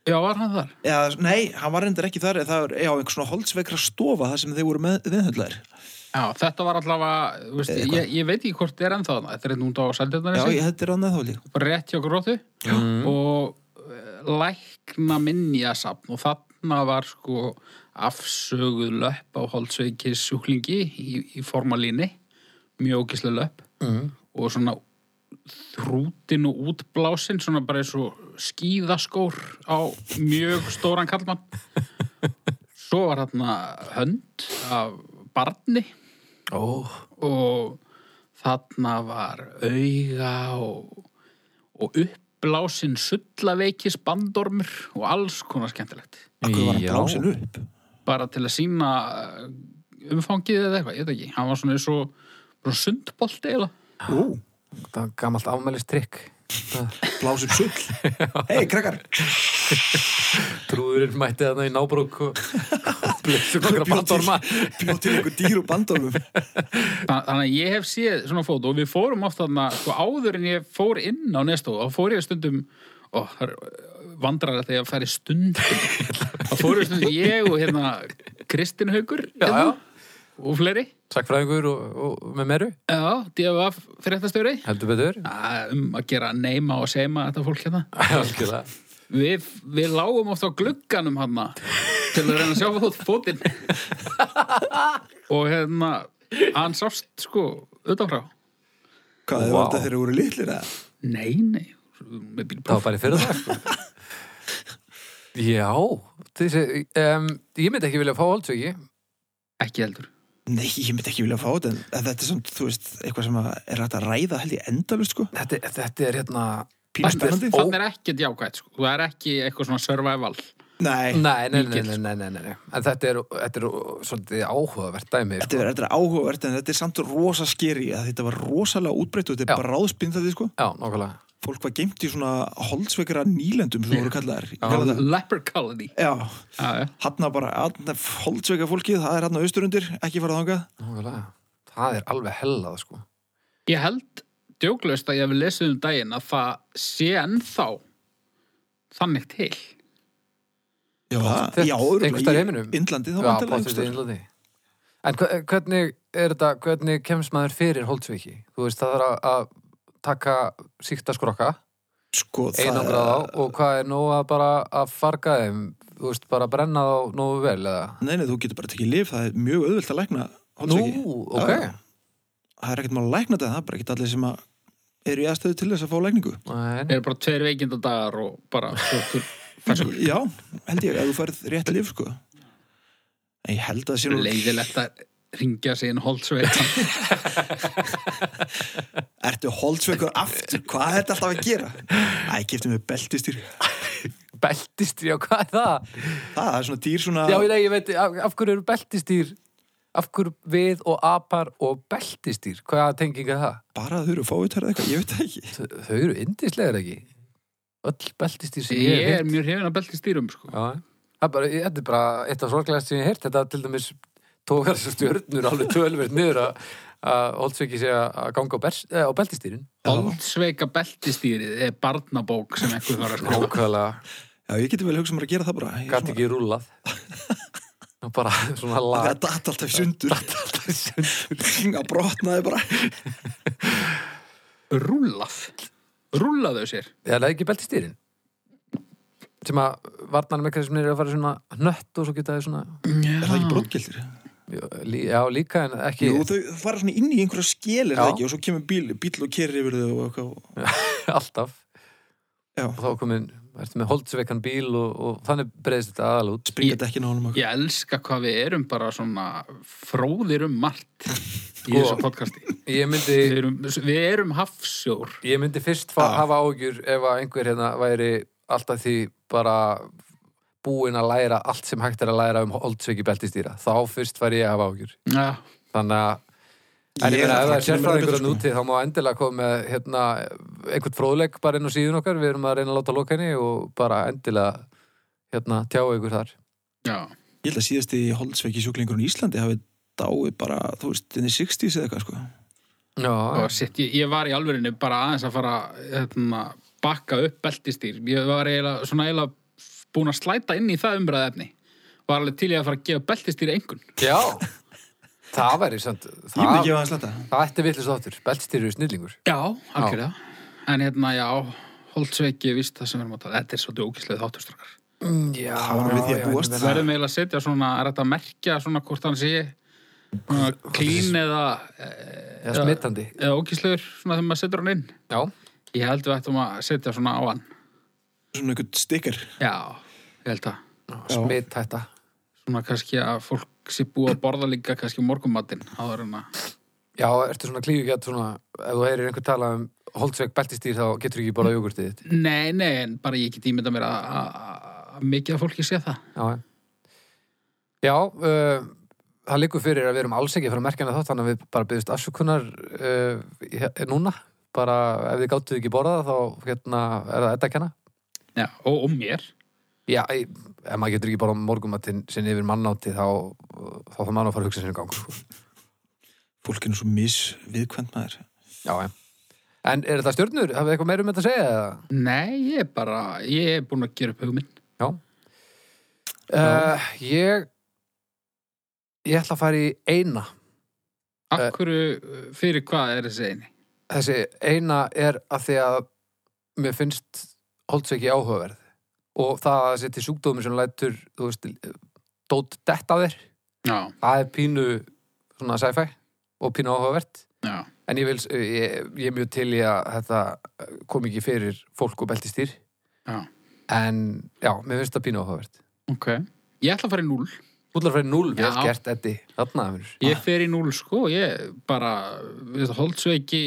[SPEAKER 1] Já, var hann þar?
[SPEAKER 2] Eða, nei, hann var reyndar ekki þar eða það er, já, einhver svona Holzveikra stofa þar sem þeir voru með, viðhundlar
[SPEAKER 1] Já, þetta var allavega, þú veist,
[SPEAKER 2] Eitthvað.
[SPEAKER 1] ég, ég veit ekki hvort þetta er ennþá þannig. Þetta er núnda á
[SPEAKER 2] Já,
[SPEAKER 1] sældetarnesi,
[SPEAKER 2] ég, þetta er annað þá líka
[SPEAKER 1] bara rétt hjá gróðu og uh, lækna minnjasafn og þarna var sko afsöguð löpp á holdsveikis sjúklingi í, í formalíni, mjög ógislega löpp
[SPEAKER 2] Mm.
[SPEAKER 1] og svona þrútin og útblásin svona bara eins og skíðaskór á mjög stóran kallmann svo var þarna hönd af barni
[SPEAKER 3] ó,
[SPEAKER 1] og þarna var auga og, og uppblásin sullaveikis bandormur og alls konar skemmtilegt.
[SPEAKER 2] Akkur var hann
[SPEAKER 3] Já.
[SPEAKER 2] blásin upp
[SPEAKER 1] Bara til að sína umfangið eða eitthvað, ég veit ekki. Hann var svona eins og svona sundbolt eiginlega.
[SPEAKER 2] Ú,
[SPEAKER 3] það er gamalt afmælistrykk
[SPEAKER 2] blásum sull Hei, krakkar,
[SPEAKER 3] trúðurinn mætti þarna í nábrúk og blöðsum okkur að
[SPEAKER 2] Bjó til-
[SPEAKER 3] bandorma
[SPEAKER 2] bjó til einhver dýr og bandormum
[SPEAKER 1] Þann- Þannig að ég hef séð svona fót og við fórum oft þarna, sko áður en ég fór inn á nestu og fór ég stundum og vandrar eh, þegar ég færi stundum þá fórum stundum ég og hérna Kristinn Haugur
[SPEAKER 3] já, já,
[SPEAKER 1] hérna, og fleiri
[SPEAKER 3] sakfræðingur og, og með meru,
[SPEAKER 1] Já, DFF fréttastjóri
[SPEAKER 3] heldur betur
[SPEAKER 1] Að, um að gera neyma og seima þetta fólk hérna
[SPEAKER 3] algjörlega
[SPEAKER 1] við, við lágum oft á glugganum hann til að reyna að sjá fót, fótinn og hérna hann sást sko utanfrá
[SPEAKER 2] Hvað, þau
[SPEAKER 3] Vá.
[SPEAKER 2] var þetta þegar þau voru litlir eða?
[SPEAKER 1] nei, nei, með
[SPEAKER 3] það var
[SPEAKER 1] bílpróf
[SPEAKER 3] bara í fyrir það sko. já þessi, um, ég myndi ekki vilja fá holdsveiki
[SPEAKER 1] ekki heldur
[SPEAKER 2] Nei, ég myndi ekki vilja fá þetta en en þetta er samt, þú veist, eitthvað sem að er hægt að ræða held ég endalust sko
[SPEAKER 3] þetta, þetta er hérna
[SPEAKER 2] Pínu spennandi
[SPEAKER 1] þannig er ekkert jákvæmt sko. það er ekki eitthvað svona survival
[SPEAKER 2] Nei,
[SPEAKER 3] Nei, nei, nei,
[SPEAKER 1] mikið,
[SPEAKER 3] nei, nei, nei, nei, nei. En þetta er, þetta er svolítið áhugavert dæmi. sko.
[SPEAKER 2] þetta er, þetta er áhugavert en þetta er samt rosa skeri að þetta var rosalega útbreytt og þetta
[SPEAKER 3] Já.
[SPEAKER 2] er bara ráðspinn þetta sko
[SPEAKER 3] Já, nokkulega.
[SPEAKER 2] fólk var geimt í svona holdsveikara nýlendum sem voru kallaðar Ég kalla það-
[SPEAKER 1] Leper Colony.
[SPEAKER 2] Já,
[SPEAKER 1] Já, já.
[SPEAKER 2] hann bara hann, holdsveika fólkið, það er hann á austurundir ekki fara þangað
[SPEAKER 3] Nákvæmlega. Það er alveg hellað, sko.
[SPEAKER 1] Ég held djóklaust að ég hef lesið um daginn að það sé ennþá þannig til.
[SPEAKER 2] Já, það-
[SPEAKER 3] þétt,
[SPEAKER 2] já, örugglega,
[SPEAKER 3] einhvers staðar í
[SPEAKER 2] í
[SPEAKER 3] heiminum.
[SPEAKER 2] Indlandi, þá
[SPEAKER 3] Já,
[SPEAKER 2] vantilega
[SPEAKER 3] pottet í Indlandi. En hve- hvernig er þetta, hvernig kemst maður fyrir Holtsviki? Þú veist, það er að, að taka síkta skrokka,
[SPEAKER 2] Sko,
[SPEAKER 3] einangra þá og hvað er nóg að bara að farga þeim, þú veist, bara brenna þá nógu vel eða?
[SPEAKER 2] Nei, nei, þú getur bara tekið lif, það er mjög auðvöld að lækna
[SPEAKER 3] Nú,
[SPEAKER 2] holdsveiki
[SPEAKER 3] ok.
[SPEAKER 2] Já, Það er ekkert mál að lækna þetta, það er bara ekkert allir sem að eru í aðstöðu til þess að fá lækningu
[SPEAKER 3] Nei,
[SPEAKER 1] Það eru bara tveir veikindandagar og bara sjóttur ferskur.
[SPEAKER 2] Já, held ég, ef þú færð rétt lif, sko En ég held að það sé nú
[SPEAKER 1] Leiðilegt að ringja sig inn holdsveitan.
[SPEAKER 2] Ertu holdsveikur aftur, hvað er þetta alltaf að gera? Æ, ég kefti mig beltistýr
[SPEAKER 3] beltistýr, já, hvað er það?
[SPEAKER 2] Það er svona dýr svona
[SPEAKER 3] Já, ég, ég veit, af, af hverju eru beltistýr, af hverju við og apar og beltistýr, hvaða tenging er það?
[SPEAKER 2] bara að þau eru fáutar eða eitthvað, ég veit það ekki
[SPEAKER 3] Þau- þau eru indislegar ekki öll beltistýr sem ég
[SPEAKER 1] Ég
[SPEAKER 3] hef
[SPEAKER 1] er
[SPEAKER 3] heyrt
[SPEAKER 1] mjög hrifin að belti stýrum, sko.
[SPEAKER 3] Já, það er bara, þetta er bara eitt af sorglegast sem ég hef heyrt þetta til dæmis tókar þessu stjörnur alveg tölverð niður að- að Holtsveiki sé að að ganga á, bers, eh, á beltistýrin
[SPEAKER 1] Holdsveika beltistýrið er barnabók sem einhver þarf að skrifa.
[SPEAKER 3] nákvæmlega,
[SPEAKER 2] Já, ég geti vel hugsað mér að gera það bara. Ég er
[SPEAKER 3] gæti ekki rúlað og bara svona
[SPEAKER 2] Svona, það
[SPEAKER 3] lag
[SPEAKER 2] datt alltaf í sundur. Það brotnaði bara.
[SPEAKER 1] Rúllað. Rúllaðu sér.
[SPEAKER 3] eða ekki beltistýrin sem að varnar með hverjum er að fara svona nött og svo geta þau svona eh,
[SPEAKER 2] Er það ekki brotgildir?
[SPEAKER 3] lí- já líka en ekki
[SPEAKER 2] Jú, þau fara svona inn í einhverja skil, er það
[SPEAKER 3] Já.
[SPEAKER 2] ekki? Og svo kemur bíl, bíl og kerri yfir þau og eitthvað.
[SPEAKER 3] alltaf
[SPEAKER 2] Já.
[SPEAKER 3] og þá komin, ertu með holdsveikan bíl og, og þannig breyðist þetta aðal út
[SPEAKER 2] Springa dekkin á honum og
[SPEAKER 1] Ég elska hvað við erum bara svona fróðir um margt í
[SPEAKER 2] Sko,
[SPEAKER 1] þessu podcasti.
[SPEAKER 3] ég
[SPEAKER 1] Við
[SPEAKER 3] myndi,
[SPEAKER 1] erum, við erum hafsjór.
[SPEAKER 3] ég myndi fyrst fa-
[SPEAKER 2] Já.
[SPEAKER 3] hafa ágjur ef að einhver hérna væri alltaf því bara búin að læra allt sem hægt er að læra um holdsveiki beltistýra, þá fyrst væri ég að hafa ágjur
[SPEAKER 1] Já.
[SPEAKER 3] þannig að En ég
[SPEAKER 2] Ég-
[SPEAKER 3] meina, ef það er
[SPEAKER 2] það kemur
[SPEAKER 3] sérfræðingur að
[SPEAKER 2] betur, sko.
[SPEAKER 3] núti, þá má endilega koma með hérna, einhvern fróðleik bara inn á síðun okkar, við erum að reyna að láta loka henni og bara endilega hérna, tjá ykkur þar.
[SPEAKER 1] Já.
[SPEAKER 2] Ég held að síðast í holdsveiki sjúklingurinn í Íslandi hafi dáið bara, þú veist, inn í 60s eða eitthvað, sko.
[SPEAKER 3] Já,
[SPEAKER 1] Og sitt, ég, ég var í alvörinu bara aðeins að fara hérna, bakka upp beltistýr. Ég var eiginlega, svona eiginlega búin að slæta inn í það umræðefni. Var alveg til ég að fara að gefa beltistýr einhvern.
[SPEAKER 3] Já, það væri samt
[SPEAKER 2] Ég myndi
[SPEAKER 1] Ah.
[SPEAKER 3] Það,
[SPEAKER 2] gefa hans leta.
[SPEAKER 3] það ætti villið svo áttur, beltstýrur snillingur
[SPEAKER 1] Já, algjörlega. En hérna, já, holdsveiki, víst það sem við erum að tala. Þetta er svo djókislega þátturstrakar.
[SPEAKER 3] Mm, Já,
[SPEAKER 2] Það var nú við því að
[SPEAKER 3] já,
[SPEAKER 2] búast.
[SPEAKER 3] ég meina-
[SPEAKER 1] Verðum eiginlega að setja svona, er þetta að merkja svona hvort hann sé svona klín eða, eh,
[SPEAKER 3] Já, smittandi
[SPEAKER 1] eða ókislegur svona þegar maður setur hann inn.
[SPEAKER 3] Já,
[SPEAKER 1] Ég held við ættum að setja svona á hann.
[SPEAKER 2] Svona einhvern stikker.
[SPEAKER 1] Já, ég held að.
[SPEAKER 3] smitt hætta
[SPEAKER 1] svona kannski að fólk sé búið að borða líka kannski morgumatinn áður en að
[SPEAKER 3] Já, ertu svona klífugjart svona Ef þú heyrir einhver tala um holdsveik beltistýr þá getur ekki bara jogurtið þitt
[SPEAKER 1] Nei, nei, en bara ég get ímynda mér að, að, að- að mikið af fólki sé það
[SPEAKER 3] Já, já. já uh, það liggur fyrir að við erum alls ekki frá merkjana þátt þannig að við bara byggðust afsökunar uh, hér- núna bara ef þið gáttuð ekki borða þá hérna, er það þetta að kenna
[SPEAKER 1] Já, og, og mér
[SPEAKER 3] Já, ég- ef maður getur ekki bara morgumattinn sinni yfir mannátti þá, þá þarf maður að fara að hugsa sinni gang. sko.
[SPEAKER 2] Fólkinu svo misviðkvæmt maður.
[SPEAKER 3] Já, já. En er þetta stjörnur? Hafið þið eitthvað meira um þetta að segja? eða?
[SPEAKER 1] Nei, ég er bara, ég er búin að gera upp hugminn
[SPEAKER 3] Já. Uh, ég, ég ætla að fara í eina.
[SPEAKER 1] Af
[SPEAKER 3] Eh.
[SPEAKER 1] hverju, fyrir hvað er þessi eini?
[SPEAKER 3] Þessi eina er að því að mér finnst holdsveiki áhugaverð. Og það að setja sjúkdómi sem lætur, þú veist, dót detta þér.
[SPEAKER 1] Já,
[SPEAKER 3] Það er pínu svona sci-fi og pínu áhugavert.
[SPEAKER 1] já,
[SPEAKER 3] En ég, vil, ég, ég er mjög til í að þetta kom ekki fyrir fólk og beltistýr.
[SPEAKER 1] já,
[SPEAKER 3] En já, mér finnst það pínu áhugavert.
[SPEAKER 1] ok Ég ætla að fara í núl
[SPEAKER 3] Búllarfræði 0, vel
[SPEAKER 1] Já.
[SPEAKER 3] gert, Eddi. Þarna, vinur.
[SPEAKER 1] Ég fer í núl, sko, ég bara við þetta holdsveiki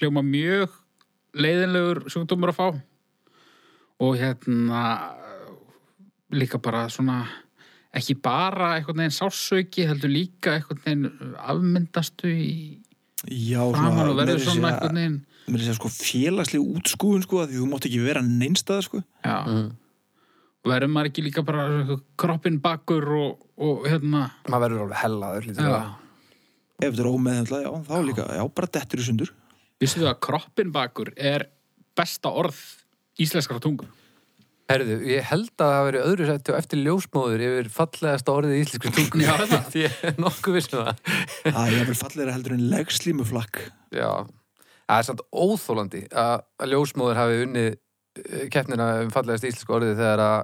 [SPEAKER 1] hljóma mjög leiðinlegur sjúkdómur að fá og hérna líka bara svona ekki bara einhvern veginn sásauki heldur líka einhvern veginn afmyndastu í
[SPEAKER 2] Já,
[SPEAKER 1] framan og
[SPEAKER 2] meira
[SPEAKER 1] verður
[SPEAKER 2] að
[SPEAKER 1] svona
[SPEAKER 2] segja-
[SPEAKER 1] einhvern veginn
[SPEAKER 2] mér er að segja sko félagsleg útskúfun sko að því þú mátt ekki vera neinstað sko
[SPEAKER 1] Já. Verður maður ekki líka bara eitthvað kroppinn bakur og, og hérna...
[SPEAKER 3] maður verður alveg hellaður lítið
[SPEAKER 1] Já.
[SPEAKER 3] það.
[SPEAKER 2] ef þetta er ómeðhendla, já, þá líka, já, bara dettur í sundur
[SPEAKER 1] Vissu þau að kroppinn bakur er besta orð íslenskara tungu?
[SPEAKER 3] Herðu, ég held að það hafi verið öðru sættu og eftir ljósmóður yfir fallegasta orðið í íslensku tungu.
[SPEAKER 1] Já, er það?
[SPEAKER 3] Því ég er nokkuð vissum það.
[SPEAKER 2] það er vel fallegra heldur en legslímuflakk
[SPEAKER 3] Já, það er samt óþólandi að að ljósmóður hafi unnið eh, keppnina um fallegasta íslensku orðið þegar að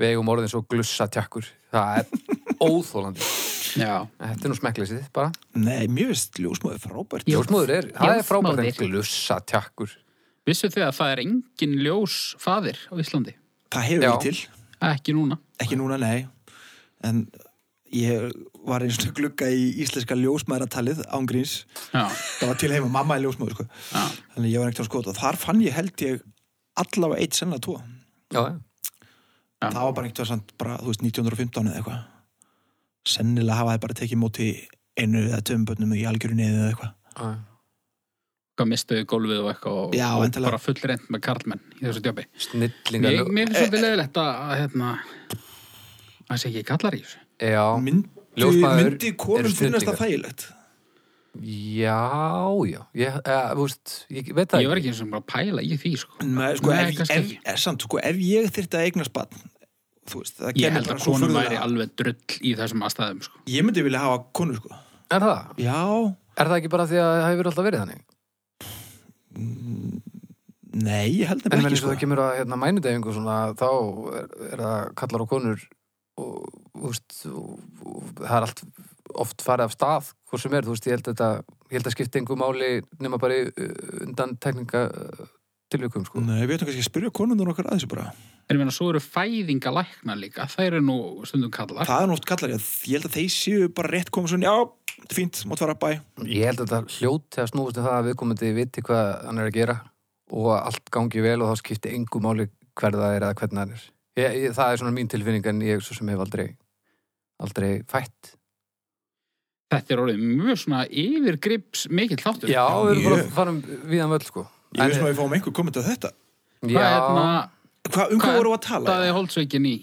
[SPEAKER 3] við eigum orðin svo glussa tjakkur. Það er óþólandi.
[SPEAKER 1] Já.
[SPEAKER 3] Þetta er nú smekkleysið bara.
[SPEAKER 2] nei, mér finnst ljósmóði frábært
[SPEAKER 1] Jú.
[SPEAKER 3] Ljósmóður er, það er frábært en
[SPEAKER 1] Ljósmóðir.
[SPEAKER 3] glussa tjakkur.
[SPEAKER 1] Vissu þau að það er engin ljós faðir á Íslandi?
[SPEAKER 2] það hefur
[SPEAKER 3] Já.
[SPEAKER 2] ekki til,
[SPEAKER 1] Ekki núna.
[SPEAKER 2] ekki núna, nei en ég var eins og glugga í íslenska ljósmæðratalið ángríns,
[SPEAKER 1] Já.
[SPEAKER 2] það var til heima mamma í ljósmóði sko,
[SPEAKER 1] Já.
[SPEAKER 2] þannig að ég var ekkert að skota þar fann ég held ég allavega eitt sennilega tvo,
[SPEAKER 3] Já, já.
[SPEAKER 1] Já.
[SPEAKER 2] það var bara ekkert samt bara, þú veist, 1915 eða eitthvað sennilega hafa þið bara tekið móti einu eða tveim bönnum í algjörunni eða eitthvað
[SPEAKER 3] já.
[SPEAKER 1] Hvað mistuðu gólfið og eitthvað og,
[SPEAKER 2] Já,
[SPEAKER 1] og
[SPEAKER 2] endilega.
[SPEAKER 1] bara fullreint með karlmenn í þessu djópi.
[SPEAKER 3] Snillingar.
[SPEAKER 1] Mér, mér
[SPEAKER 2] Eh.
[SPEAKER 1] finnst svolítið leðilegt að, að hérna, að það sé ekki kallar í þessu.
[SPEAKER 3] Já,
[SPEAKER 2] myndi,
[SPEAKER 3] Ljósmæður
[SPEAKER 2] myndi konum
[SPEAKER 3] eru
[SPEAKER 2] finnast
[SPEAKER 3] snillingar.
[SPEAKER 2] það þægilegt
[SPEAKER 3] já, já. Ég, eh, þú veist, ég veit það
[SPEAKER 1] Ég var ekki eins og bara að pæla í því, sko.
[SPEAKER 2] Nei, sko,
[SPEAKER 1] Nei,
[SPEAKER 2] ef,
[SPEAKER 1] kannski
[SPEAKER 2] ef,
[SPEAKER 1] ekki.
[SPEAKER 2] er, samt, sko, ef ég þyrfti að eignast barn þú veist,
[SPEAKER 1] Ég
[SPEAKER 2] það kemur
[SPEAKER 1] held
[SPEAKER 2] bara
[SPEAKER 1] að
[SPEAKER 2] svo
[SPEAKER 1] konum væri
[SPEAKER 2] furðulega-
[SPEAKER 1] alveg drull í þessum aðstæðum, sko.
[SPEAKER 2] ég myndi vilja hafa konur sko
[SPEAKER 3] Er það?
[SPEAKER 2] já,
[SPEAKER 3] Er það ekki bara því að það hefur alltaf verið þannig?
[SPEAKER 2] Mm, nei, ég held
[SPEAKER 3] En
[SPEAKER 2] nefnilega
[SPEAKER 3] menn
[SPEAKER 2] ekki
[SPEAKER 3] eins og
[SPEAKER 2] sko.
[SPEAKER 3] það kemur að hérna, mænudefingu og svona, þá er, er það kallar á konur og, úst, og, og það er allt oft farið af stað, hvort sem er, þú veist, ég held að þetta, ég held að skipta engu máli nema bara í, uh, undan tekninga tilvikum, sko.
[SPEAKER 2] nei, við ætlum kannski að spyrja konunum okkar að þessu bara
[SPEAKER 1] En ég meina, svo eru fæðingalæknar líka. Það eru nú stundum kallar.
[SPEAKER 2] það er nátt kallar, ég, ég held að þeir séu bara rétt komið svona, já, þetta er fínt, mátt fara að bæ
[SPEAKER 3] Ég held að þetta hljóti að snúast um það að viðkomandi viti hvað hann er að gera og að allt gangi vel og þá skipti engu máli hver það er eða hvernig hann er. Ég, ég, það er svona mín tilfinning en ég svo sem hef aldrei, aldrei fætt.
[SPEAKER 1] Þetta er orðið mjög svona yfirgrips mikill þáttur.
[SPEAKER 3] Já, við erum bara
[SPEAKER 2] mjög.
[SPEAKER 3] að fara um viðan völl sko.
[SPEAKER 2] ég veist maður að við fáum einhver komið til þetta
[SPEAKER 1] Hvað er hérna,
[SPEAKER 2] Hva, um
[SPEAKER 1] Hvað
[SPEAKER 2] hvað vorum við að tala?
[SPEAKER 1] það er holdsveikin í?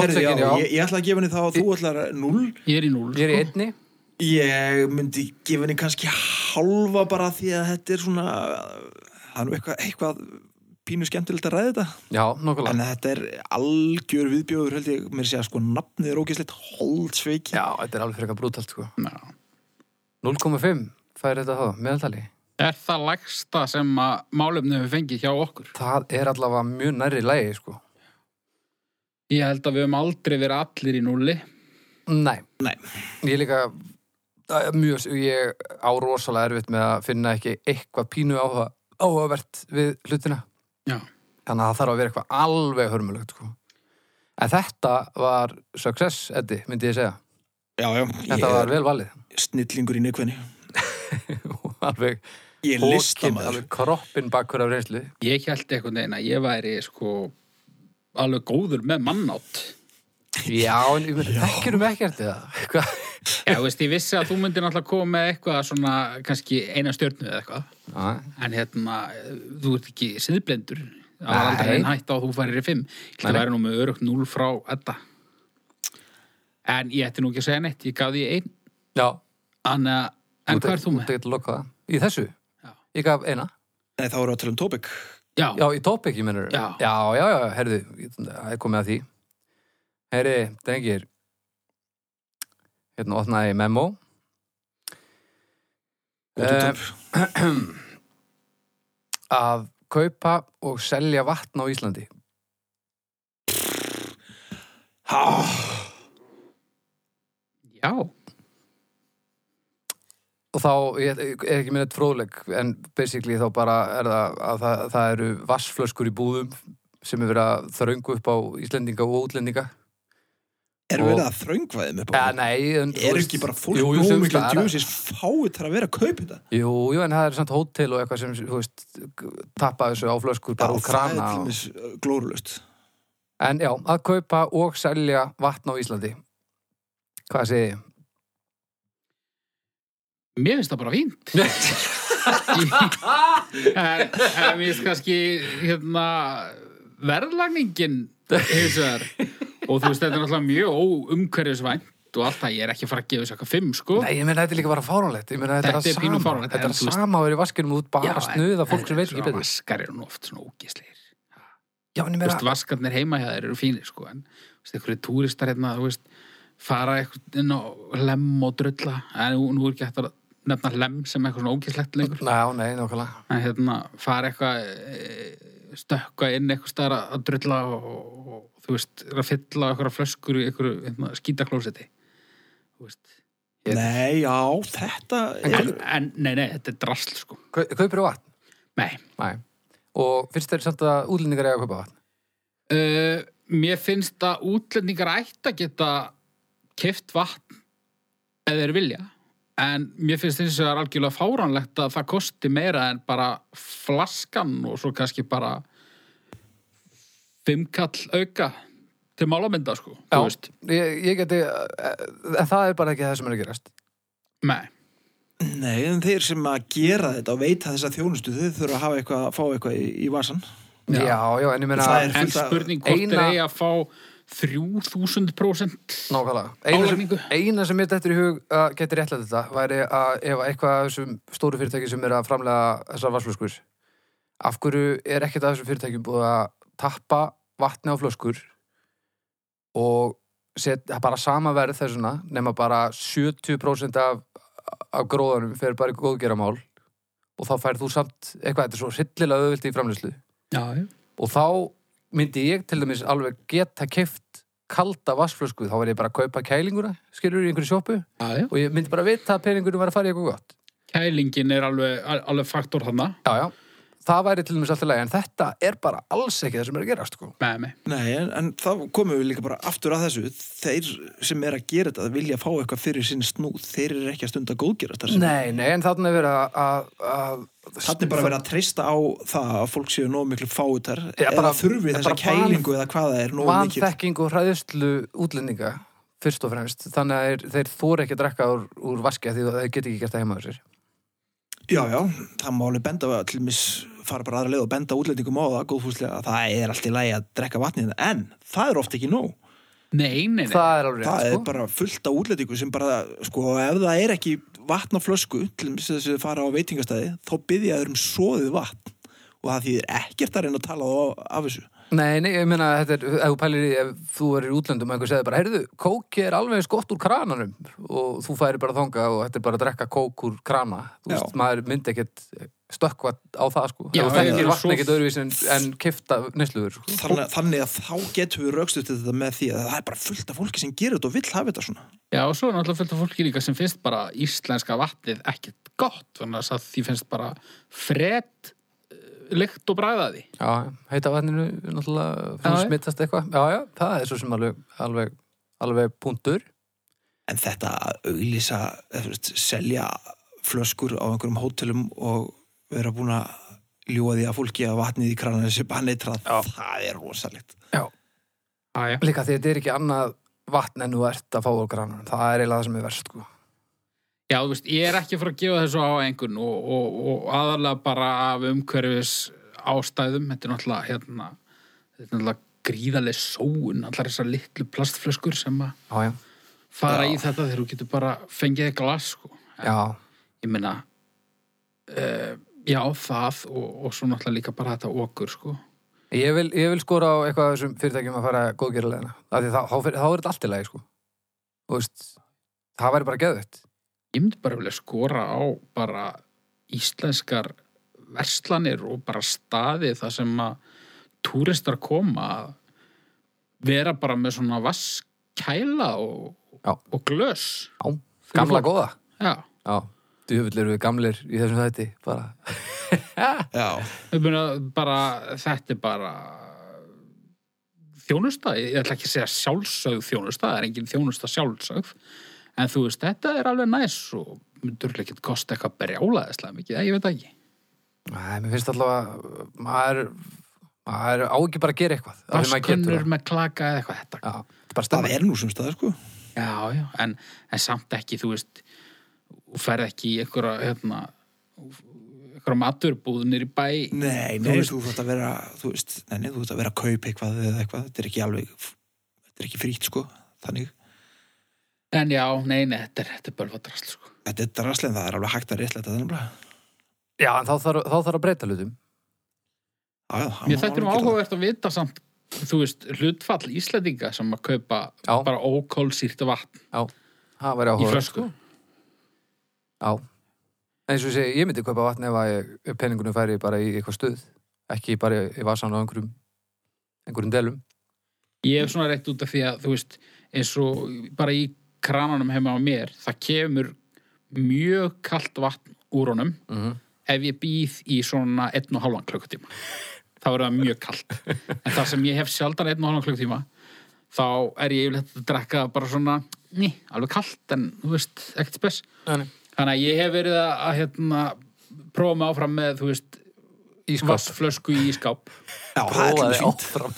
[SPEAKER 2] Herði, já,
[SPEAKER 3] Hálfsækin, já.
[SPEAKER 2] Ég, ég ætla að gefa henni þá að þú ætlar að null
[SPEAKER 1] Ég er í sko. núl,
[SPEAKER 3] Ég er í einni.
[SPEAKER 2] ég myndi gefa henni kannski halva bara því að þetta er svona það er nú eitthvað, eitthvað pínu skemmtilegt að ræða þetta
[SPEAKER 3] Já, nokkulega.
[SPEAKER 2] En þetta er algjör viðbjóður held ég, mér sé að sko nafnið er ógæslegt holdsveik.
[SPEAKER 3] Já, þetta er alveg frekar brútalt sko.
[SPEAKER 1] Já.
[SPEAKER 3] 0,5 fær þetta þá, meðaltali.
[SPEAKER 1] Er það lægsta sem að málefni hefur fengið hjá okkur?
[SPEAKER 3] Það er allavega mjög nærri lægi sko.
[SPEAKER 1] Ég held að við höfum aldrei verið allir í núli.
[SPEAKER 3] Nei,
[SPEAKER 2] Nei,
[SPEAKER 3] Ég líka það er mjög, ég á rosalega erfitt með að finna ekki eitthvað pínu áhuga, áhugavert við hlutina.
[SPEAKER 1] Já.
[SPEAKER 3] Þannig að það þarf að vera eitthvað alveg hörmulegt, sko. En þetta var success, Eddi, myndi ég segja.
[SPEAKER 2] já, já.
[SPEAKER 3] Þetta
[SPEAKER 2] ég
[SPEAKER 3] var vel valið.
[SPEAKER 2] er snillingur í neikvenni.
[SPEAKER 3] alveg
[SPEAKER 2] Ég er listamaður.
[SPEAKER 3] alveg kroppin bakkur af reynslu.
[SPEAKER 1] Ég held einhvern veginn að ég væri sko alveg góður með mannátt.
[SPEAKER 3] Já, en ég myndi, þekkirum ekkert eða. Hvað?
[SPEAKER 1] Já, veist, ég vissi að þú myndir náttúrulega koma með eitthvað svona, kannski eina stjörnu eða eitthvað.
[SPEAKER 3] Já,
[SPEAKER 1] En hérna, þú ert ekki siðblendur. Það var
[SPEAKER 3] Nei.
[SPEAKER 1] aldrei einn hætt á að þú farir í fimm. Það
[SPEAKER 3] Nei.
[SPEAKER 1] væri nú með örugt núl frá þetta. En ég ætti nú ekki að segja neitt, ég gaf því einn.
[SPEAKER 3] Já.
[SPEAKER 1] En, en hvað er þú með?
[SPEAKER 3] Þú tegir lokaða. Í þessu?
[SPEAKER 1] Já.
[SPEAKER 3] Ég gaf eina.
[SPEAKER 2] Nei, þá erum við að tala um tópik.
[SPEAKER 1] Já,
[SPEAKER 3] Já, í topic, ég mennur.
[SPEAKER 1] Já.
[SPEAKER 3] já, já, já, herðu, ég- það er komið að því. Herri, drengir, hérna opnaði ég memo.
[SPEAKER 2] Góðum
[SPEAKER 3] Eh,
[SPEAKER 2] tóp.
[SPEAKER 3] Að kaupa og selja vatn á Íslandi.
[SPEAKER 2] Há,
[SPEAKER 1] já.
[SPEAKER 3] Og þá, ég ég er ekki minn eitt fróðleg, en basically þá bara er það að það, það eru vassflöskur í búðum sem er verið að þröngu upp á Íslendinga og útlendinga.
[SPEAKER 2] erum við að þröngvaðið með
[SPEAKER 3] Ja,
[SPEAKER 2] bóðum?
[SPEAKER 3] nei, en, þú
[SPEAKER 2] Er
[SPEAKER 3] veist-
[SPEAKER 2] ekki bara fólk
[SPEAKER 3] Jú, jú,
[SPEAKER 2] nóg
[SPEAKER 3] sums
[SPEAKER 2] miklu
[SPEAKER 3] staðar.
[SPEAKER 2] djúsis fáið þar að vera að kaupa þetta?
[SPEAKER 3] Jú, jú, en það er samt hótel og eitthvað sem, þú veist, tappa þessu á flöskur bara úr
[SPEAKER 2] það er
[SPEAKER 3] krana.
[SPEAKER 2] til eh,
[SPEAKER 3] Og...
[SPEAKER 2] mis glórulust.
[SPEAKER 3] En já, að kaupa og selja vatn á Íslandi. Hvað segið þið?
[SPEAKER 1] Mér finnst það bara fínt. en, en við kannski hérna, verðlagningin hins vegar og þú veist, þetta er náttúrulega mjög óumhverfisvænt og alltaf ég er ekki að fara að gefa þess eitthvað fimm sko
[SPEAKER 3] Nei, ég meina þetta er líka bara fáránlegt Ég meina þetta
[SPEAKER 1] Þetta
[SPEAKER 3] er
[SPEAKER 1] er
[SPEAKER 3] að
[SPEAKER 1] pínu
[SPEAKER 3] sama
[SPEAKER 1] fáránlegt,
[SPEAKER 3] Þetta
[SPEAKER 1] en
[SPEAKER 3] er
[SPEAKER 1] þú
[SPEAKER 3] að
[SPEAKER 1] veist-
[SPEAKER 3] sama að vera í vaskinum út bara að
[SPEAKER 1] en-
[SPEAKER 3] snuða
[SPEAKER 1] en
[SPEAKER 3] fólk sem veit ekki
[SPEAKER 1] svona
[SPEAKER 3] betur
[SPEAKER 1] Vaskar eru nú oft svona ógisleir
[SPEAKER 3] Já, en ég
[SPEAKER 1] Þú veist,
[SPEAKER 3] meina
[SPEAKER 1] vaskarnir heima hjá þeir eru fínir sko en þú veist, einhverju túristar hérna þú veist, fara eitthvað inn á lem og drulla en nú, nú er ekki hægt að nefna lem sem eitthvað svona ógislegt lengur
[SPEAKER 3] Ná, nei, nákvæmlega
[SPEAKER 1] að hérna fara eitthvað e, stökka inn eitthvað staðar að- að drulla og, og, og þú veist, er að fylla eitthvað flöskur í eitthvað hérna, skítaklósetti þú veist Ég-
[SPEAKER 2] Nei, já, þetta er,
[SPEAKER 1] en, en nei, nei, þetta er drasl sko
[SPEAKER 3] Kau- Kaupir þú vatn?
[SPEAKER 1] nei,
[SPEAKER 3] Nei Og finnst þér samt að útlendingar eiga að kaupa vatn?
[SPEAKER 1] uh, mér finnst að útlendingar ætti að geta keft vatn eða þeir vilja en mér finnst þess að það er algjörlega fáránlegt að það kosti meira en bara flaskan og svo kannski bara fimmkall auka til málamynda sko þú veist.
[SPEAKER 3] ég, ég geti En það er bara ekki það sem er að gerast
[SPEAKER 1] Nei,
[SPEAKER 2] nei, en þeir sem að gera þetta og veita þessa þjónustu, þeir þurfa að hafa eitthvað, fá eitthvað í, í vasan.
[SPEAKER 1] Já.
[SPEAKER 3] Já, já, en ég meina
[SPEAKER 2] Það er-
[SPEAKER 1] en
[SPEAKER 2] fullt af-
[SPEAKER 1] spurning hvort eina...
[SPEAKER 3] Eina-
[SPEAKER 1] er eigi að fá 3000%
[SPEAKER 3] Nákvæmlega. Eina
[SPEAKER 1] Álagningu.
[SPEAKER 3] sem, eina sem mér dettur í hug að geti réttlega þetta væri að ef eitthvað af þessum stóru fyrirtæki sem er að framlega þessar vatnsflöskur af hverju er ekkert af þessum fyrirtækjum búið að tappa vatni á flöskur og set, bara sama verð þessuna nema bara 70% af, af gróðanum fer bara í góðgeramál og þá færð þú samt eitthvað, þetta er svo hryllilega auðvilt í framleyslu
[SPEAKER 1] Já, já
[SPEAKER 3] og þá myndi ég til dæmis alveg geta keift kalda vassflösku, þá var ég bara að kaupa kælinguna, skilur í einhverju sjoppu
[SPEAKER 1] Já, já.
[SPEAKER 3] og ég myndi bara vita að peningunum var að fara í eitthvað gott
[SPEAKER 1] Kælingin er alveg, alveg faktor þarna
[SPEAKER 3] já, já, það væri til dæmis alltaf leið en þetta er bara alls ekki það sem er að gerast sko.
[SPEAKER 1] Nei, nei
[SPEAKER 2] Nei, en, en þá komum við líka bara aftur að þessu. Þeir sem er að gera þetta vilja fá eitthvað fyrir sinn snúð, þeir eru ekki að stunda góðgera þetta.
[SPEAKER 3] nei, nei, en þarna er verið að- að að-
[SPEAKER 2] Þannig bara verið að treysta á það að fólk séu nóg miklu fáutar
[SPEAKER 3] Já,
[SPEAKER 2] eða
[SPEAKER 3] bara-
[SPEAKER 2] þurfi
[SPEAKER 3] já,
[SPEAKER 2] þessa
[SPEAKER 3] bara van-
[SPEAKER 2] kælingu eða hvað það er nóg mikið.
[SPEAKER 3] vanþekking og hræðislu útlendinga fyrst og fremst, þannig að þeir, þeir þóra ekki að drekka úr, úr vaskja því að þeir geta ekki gert það heimaður sér
[SPEAKER 2] Já, já, það má alveg benda að til mis fara bara aðra leið og benda útlendingum á það góðfúslega að það er allt í lagi að drekka vatnið en það er oft ekki nóg.
[SPEAKER 1] Nei, nei, nei
[SPEAKER 3] það er alveg
[SPEAKER 2] það
[SPEAKER 3] rétt,
[SPEAKER 2] er
[SPEAKER 3] sko.
[SPEAKER 2] bara fullt af útlendingu sem bara, sko, ef það er ekki vatn á flösku til mis þess að þau fara á veitingastæði þá byggja þeir um soðið vatn og það þýðir ekkert að reyna að tala á- af þessu.
[SPEAKER 3] Nei, nei, ég meina, þetta er, ef þú pælir í, ef þú er í útlöndum og einhver segir bara, heyrðu, kóki er alveg eins gott úr krananum og þú færi bara þanga og þetta er bara að drekka kók úr krana. Þú
[SPEAKER 2] Já.
[SPEAKER 3] veist, maður myndi ekkert stökkva á það, sko.
[SPEAKER 1] Já,
[SPEAKER 3] Já, þú
[SPEAKER 1] já,
[SPEAKER 3] þekkir
[SPEAKER 1] já.
[SPEAKER 3] vatn ekkert öðruvísi en, en kifta nesluður, sko.
[SPEAKER 2] Þannig, þannig að þá getum við raukstuð þetta með því að það er bara fullt af fólki sem gerir þetta og vill hafa þetta svona.
[SPEAKER 1] Já, og svo er náttúrulega fullt af fólki líka sem finnst bara íslenska vatnið ekkert gott, þannig að það- því finnst bara fred eh, lykt og bræðaði.
[SPEAKER 3] Já, heita vatninu, náttúrulega,
[SPEAKER 1] Já,
[SPEAKER 3] já,
[SPEAKER 1] já.
[SPEAKER 3] smittast eitthvað. Já, já, það er svo sem alveg, alveg, alveg punktur.
[SPEAKER 2] En þetta að auglýsa, eða þú veist, selja flöskur á einhverjum hótelum og vera búin að ljúa því að fólki að vatnið í kranan þessi banneitrað, það er rosalegt.
[SPEAKER 3] Já.
[SPEAKER 1] Æja.
[SPEAKER 3] Líka því að þetta er ekki annað vatn en þú ert að fá úr krananum. Það er eiginlega það sem er verst, sko.
[SPEAKER 1] Já, þú veist, ég er ekki að fara að gefa þessu á einhvern og, og, og aðalega bara af umhverfis ástæðum, þetta er náttúrulega, hérna, þetta er náttúrulega gríðaleg sóun, allar þessar litlu plastflöskur sem að
[SPEAKER 3] Já, já.
[SPEAKER 1] fara
[SPEAKER 2] Já.
[SPEAKER 1] í þetta þegar þú getur bara fengið þér glas, sko. En
[SPEAKER 3] Já,
[SPEAKER 1] Ég meina, uh, já, það og, og svo náttúrulega líka bara þetta okkur, sko.
[SPEAKER 3] Ég vil, ég vil skora á eitthvað af þessum fyrirtækjum að fara góðgera leðina. Þá, þá, þá, fer- þá er þetta allt í lagi, sko. Þú veist, það væri bara geðvægt.
[SPEAKER 1] ég myndi bara vilja skora á bara íslenskar verslanir og bara staði það sem að túristar koma að vera bara með svona vasskæla og,
[SPEAKER 3] Já.
[SPEAKER 1] og glös
[SPEAKER 3] Já, gamla
[SPEAKER 1] fólk.
[SPEAKER 3] góða.
[SPEAKER 1] Já,
[SPEAKER 3] Já, djöfull eru við gamlir í þessum þætti, bara.
[SPEAKER 2] Já.
[SPEAKER 1] ég meina bara þetta er bara þjónusta, ég ætla ekki að segja sjálfsögð þjónusta, það er engin þjónusta sjálfsögð en þú veist, þetta er alveg næs og myndur ekki kosta eitthvað berjálaðislega mikið, ég veit það ekki
[SPEAKER 3] Nei, mér finnst allavega, maður, maður á ekki bara að gera eitthvað. af því maður getur
[SPEAKER 1] Vaskunnur
[SPEAKER 3] það.
[SPEAKER 1] með klaka eða eitthvað þetta
[SPEAKER 3] Já, þetta er bara
[SPEAKER 2] Það
[SPEAKER 3] stemming.
[SPEAKER 2] er nú sem staðar, sko.
[SPEAKER 1] Já, já, en, en samt ekki, þú veist, þú ferð ekki í einhverja, hérna, eitthvað maturbúðunir í bæ
[SPEAKER 2] Nei,
[SPEAKER 1] Þú
[SPEAKER 2] nei,
[SPEAKER 1] veist-
[SPEAKER 2] þú þátt að vera þú veist, nei, nei, þú þátt að vera að kaupa eitthvað eða eitthvað, þetta er ekki alveg þetta er ekki frýtt, sko, þannig
[SPEAKER 1] En já, nei, nei, þetta er, þetta er bölvadrasl sko.
[SPEAKER 2] þetta er draslein, það er alveg hægt að réttlega þetta nefnilega
[SPEAKER 3] Já, en þá þarf, þá þarf að breyta hlutum.
[SPEAKER 2] Já, já, það
[SPEAKER 1] Mér
[SPEAKER 2] má
[SPEAKER 1] þetta er
[SPEAKER 2] alveg gera
[SPEAKER 1] áhugavert að vita samt þú veist, hlutfall Íslandinga sem að kaupa
[SPEAKER 3] Já.
[SPEAKER 1] bara ókólsýrt vatn
[SPEAKER 3] Það væri
[SPEAKER 1] í
[SPEAKER 3] áhuga.
[SPEAKER 1] flösku
[SPEAKER 3] Já. En eins og ég segi, ég myndi kaupa vatn ef að ég- peningunum færi bara í eitthvað stuð. Ekki bara í vasan á einhverjum, einhverjum delum.
[SPEAKER 1] Ég hef svona rétt út af því að þú veist, eins og bara í krananum heima á mér, það kemur mjög kalt vatn úr honum
[SPEAKER 3] Mm
[SPEAKER 2] Mhm.
[SPEAKER 1] ef ég býð í svona einn og halvan klukkutíma þá er það mjög kalt en það sem ég hef sjaldan einn og halvan klukkutíma þá er ég yfirleitt að drekka það bara svona, ný, alveg kalt en þú veist, ekkert spes
[SPEAKER 3] -hmm.
[SPEAKER 1] þannig að ég hef verið að, að hérna, prófa mig áfram með, þú veist
[SPEAKER 3] Ískap.
[SPEAKER 1] vassflösku í skáp
[SPEAKER 2] Já, það er til
[SPEAKER 3] Prófaði
[SPEAKER 2] dæmis fínt
[SPEAKER 3] áfram.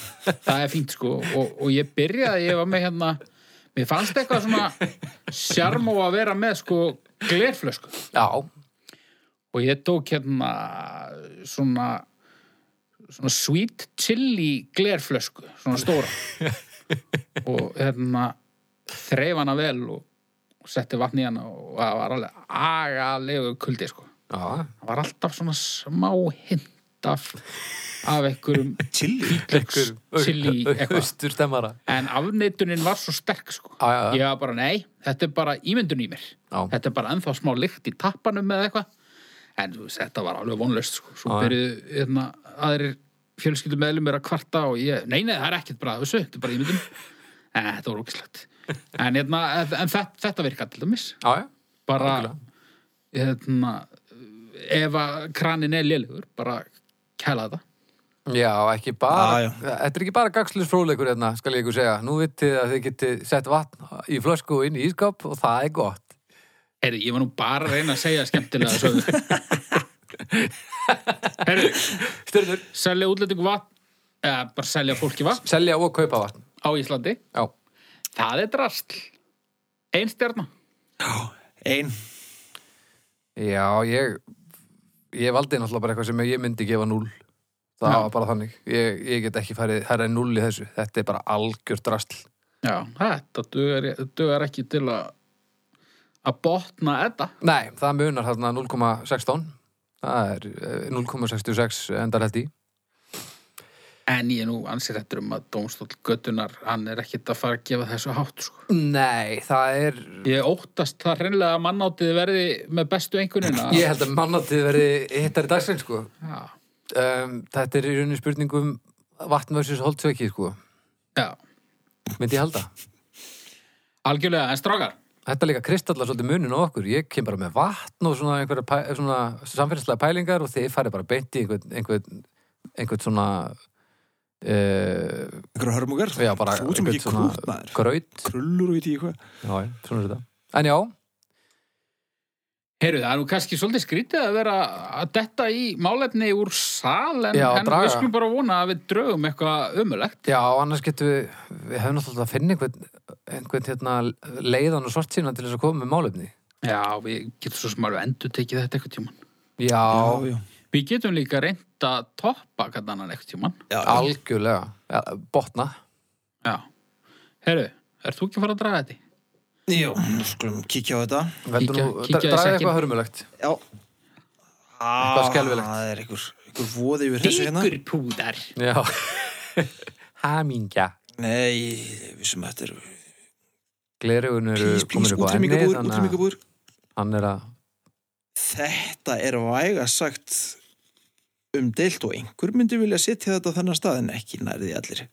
[SPEAKER 1] það er fínt sko og, og ég byrjaði, ég var með hérna mér fannst eitthvað svona sjarmó að vera með sko glerflösku
[SPEAKER 3] Já,
[SPEAKER 1] og ég tók hérna svona svona sweet chili glerflösku svona stóra og hérna þreif hana vel og, og setti vatn í hana og það var alveg agalegu kuldi sko
[SPEAKER 3] já.
[SPEAKER 1] það var alltaf svona smá hint af af einhverjum
[SPEAKER 2] Chili,
[SPEAKER 1] hvítlauks chili eitthvað
[SPEAKER 3] Östur stemmara.
[SPEAKER 1] En afneitunin var svo sterk sko.
[SPEAKER 3] Já, já, já.
[SPEAKER 1] Ég var bara, nei, þetta er bara ímyndun í mér.
[SPEAKER 3] Já.
[SPEAKER 1] Þetta er bara ennþá smá lykt í tappanum eða eitthvað. En þú veist, þetta var alveg vonlaust sko. Svo
[SPEAKER 3] Já, já.
[SPEAKER 1] byrjuðu hérna, aðrir fjölskyldum meðlum er að kvarta og ég, nei, nei, það er ekkert bara þessu, þetta er bara ímyndun. En þetta var ógislegt. En, hérna, en þetta, þetta virka til dæmis.
[SPEAKER 3] Já, já.
[SPEAKER 1] Bara,
[SPEAKER 3] Algjörlega.
[SPEAKER 1] hérna, ef að kranin er lélugur, bara kæla þetta.
[SPEAKER 3] Já, ekki bara,
[SPEAKER 2] Já, já.
[SPEAKER 3] þetta er ekki bara gagslis fróðleikur hérna, skal ég ykkur segja. Nú vitið þið að þið getið sett vatn í flösku og inn í ískap og það er gott.
[SPEAKER 1] Herri, ég var nú bara að reyna að segja skemmtilega sögur. Herri,
[SPEAKER 3] Styrnur.
[SPEAKER 1] selja útlendingu vatn, eða bara selja fólki vatn
[SPEAKER 3] Selja og kaupa vatn.
[SPEAKER 1] á Íslandi.
[SPEAKER 3] Já,
[SPEAKER 1] Það er drastl. Einn stjarnar.
[SPEAKER 2] ein
[SPEAKER 3] já ég, ég valdi náttúrulega bara eitthvað sem ég myndi gefa núl. Það
[SPEAKER 1] Já.
[SPEAKER 3] var bara þannig. Ég, ég get ekki farið, það er núl í þessu. Þetta er bara algjör drastl.
[SPEAKER 1] Já, þetta dugar, dugar ekki til að að botna þetta.
[SPEAKER 3] Nei, það munar þarna 0,16. Það er eh, 0,66 endar held í.
[SPEAKER 1] En ég er nú ansið þetta um að Dómstól Götunar, hann er ekkit að fara að gefa þessu hátt, sko.
[SPEAKER 3] Nei, það er,
[SPEAKER 1] Ég óttast það hreinlega að mannátið verði með bestu einkunina.
[SPEAKER 3] ég held að mannatið verði hittari dagsinn sko.
[SPEAKER 1] Já,
[SPEAKER 3] um, þetta er í rauninni spurningum vatn versus holdsveiki sko.
[SPEAKER 1] já.
[SPEAKER 3] myndi ég halda
[SPEAKER 1] Algjörlega, en strákar,
[SPEAKER 3] þetta líka kristallar svolítið munin á okkur ég kem bara með vatn og svona, einhverja pæ, eh, svona samfélagslega pælingar og þið farið bara beint í einhvern, einhvern, einhvern svona uh,
[SPEAKER 2] einhverja hörmungar,
[SPEAKER 3] já bara
[SPEAKER 2] þú ert sem ekki krút maður
[SPEAKER 3] gröyt
[SPEAKER 2] krullur og veit ég hvað
[SPEAKER 3] já, já, svona er þetta en já,
[SPEAKER 1] Heyrðu, það er nú kannski svolítið skrítið að vera að detta í málefni úr sal en,
[SPEAKER 3] Já,
[SPEAKER 1] en
[SPEAKER 3] draga.
[SPEAKER 1] við skulum bara vona að við draugum eitthvað ömulegt.
[SPEAKER 3] já, annars getum við við hefum náttúrulega að finna einhvern, einhvern hérna, leiðan og svart sína til þess að koma með málefni
[SPEAKER 1] Já, við getum svo sem alveg endur tekið þetta eitthvað tíman.
[SPEAKER 3] já,
[SPEAKER 2] já, já,
[SPEAKER 1] Við getum líka reynd að toppa hvernig annan eitthvað tíman.
[SPEAKER 2] já, já.
[SPEAKER 3] algjörlega ja, botna
[SPEAKER 1] Já. Heyrðu, ert þú ekki að fara að draga þetta? í?
[SPEAKER 2] Jú, skulum kíkja á þetta
[SPEAKER 3] Veldur
[SPEAKER 1] Kíkja-
[SPEAKER 3] nú,
[SPEAKER 1] kíkja í
[SPEAKER 3] draga
[SPEAKER 1] sekkinn.
[SPEAKER 3] eitthvað hörmulegt
[SPEAKER 2] já Ah,
[SPEAKER 3] Eitthvað skelfilegt.
[SPEAKER 2] það er einhver, einhver voði yfir þessu hérna
[SPEAKER 1] Sykurpúðar.
[SPEAKER 3] Já Hamingja
[SPEAKER 2] nei, við sem þetta er
[SPEAKER 3] Glerugun eru
[SPEAKER 2] please,
[SPEAKER 3] komin
[SPEAKER 2] please,
[SPEAKER 3] upp á
[SPEAKER 2] útrýmingabúr,
[SPEAKER 3] ennið, þannig að
[SPEAKER 2] útrýmingabúr
[SPEAKER 3] Hann er að
[SPEAKER 2] þetta er væga sagt umdeilt og einhver myndi vilja setja þetta á þennan stað en ekki nærði allir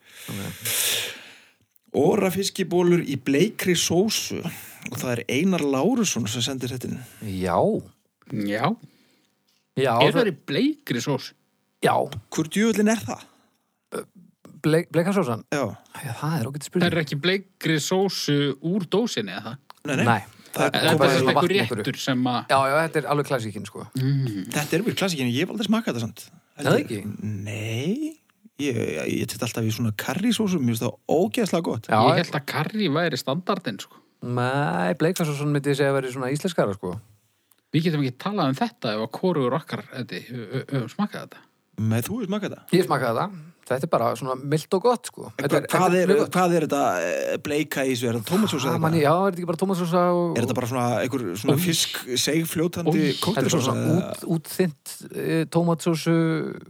[SPEAKER 2] Óra fiskibólur í bleikri sósu og það er Einar Lárusson sem sendir þetta inn
[SPEAKER 3] Já
[SPEAKER 1] Já.
[SPEAKER 3] Já,
[SPEAKER 1] Er
[SPEAKER 3] það-
[SPEAKER 1] það í bleikri sós?
[SPEAKER 3] já
[SPEAKER 2] Hvort djúvöldin er það?
[SPEAKER 3] bleik, Bleikarsósan
[SPEAKER 2] Já,
[SPEAKER 3] Já, Það er okkur
[SPEAKER 1] Það
[SPEAKER 3] spurning
[SPEAKER 1] er ekki bleikri sósu úr dósinni eða það?
[SPEAKER 2] nei, nei,
[SPEAKER 3] Nei
[SPEAKER 2] Það
[SPEAKER 1] Það er
[SPEAKER 2] Koma
[SPEAKER 1] bara
[SPEAKER 2] þessu
[SPEAKER 1] svona
[SPEAKER 3] vatni
[SPEAKER 1] einhver
[SPEAKER 3] einhverju.
[SPEAKER 1] réttur sem að...
[SPEAKER 3] Já, já, þetta er alveg klassíkin sko
[SPEAKER 2] þetta er við klassikinu, ég hef aldrei smakað þetta samt
[SPEAKER 3] Er það ekki?
[SPEAKER 2] Nei, ég, ég, ég tett alltaf í svona karrísósu, mér finnst það ógeðslega gott
[SPEAKER 3] Já,
[SPEAKER 1] Ég held að karri væri standardin, sko.
[SPEAKER 3] Nei, Bleikarsósan myndi ég segja að vera svona íslenskara sko
[SPEAKER 1] Við getum ekki talað um þetta ef að korugur okkar þetta, ö- ö- ö- smakkaði þetta.
[SPEAKER 2] Með þú smakka þetta?
[SPEAKER 3] Ég smakaði það. Þetta er bara svona mild og gott, sko. Þetta
[SPEAKER 2] Hvað er,
[SPEAKER 3] mjög gott.
[SPEAKER 2] hvað er þetta eh, bleika í þessu? Er þetta tómatsósa?
[SPEAKER 3] Ah,
[SPEAKER 2] eða
[SPEAKER 3] manni,
[SPEAKER 2] eitthvað?
[SPEAKER 3] já, er þetta ekki bara tómatsósa og...
[SPEAKER 2] Er þetta bara svona einhver svona fisk segfljótandi
[SPEAKER 1] Új.
[SPEAKER 3] Þetta er bara
[SPEAKER 2] kóktelsósa?
[SPEAKER 3] svona út, útþynt e, tómatsósu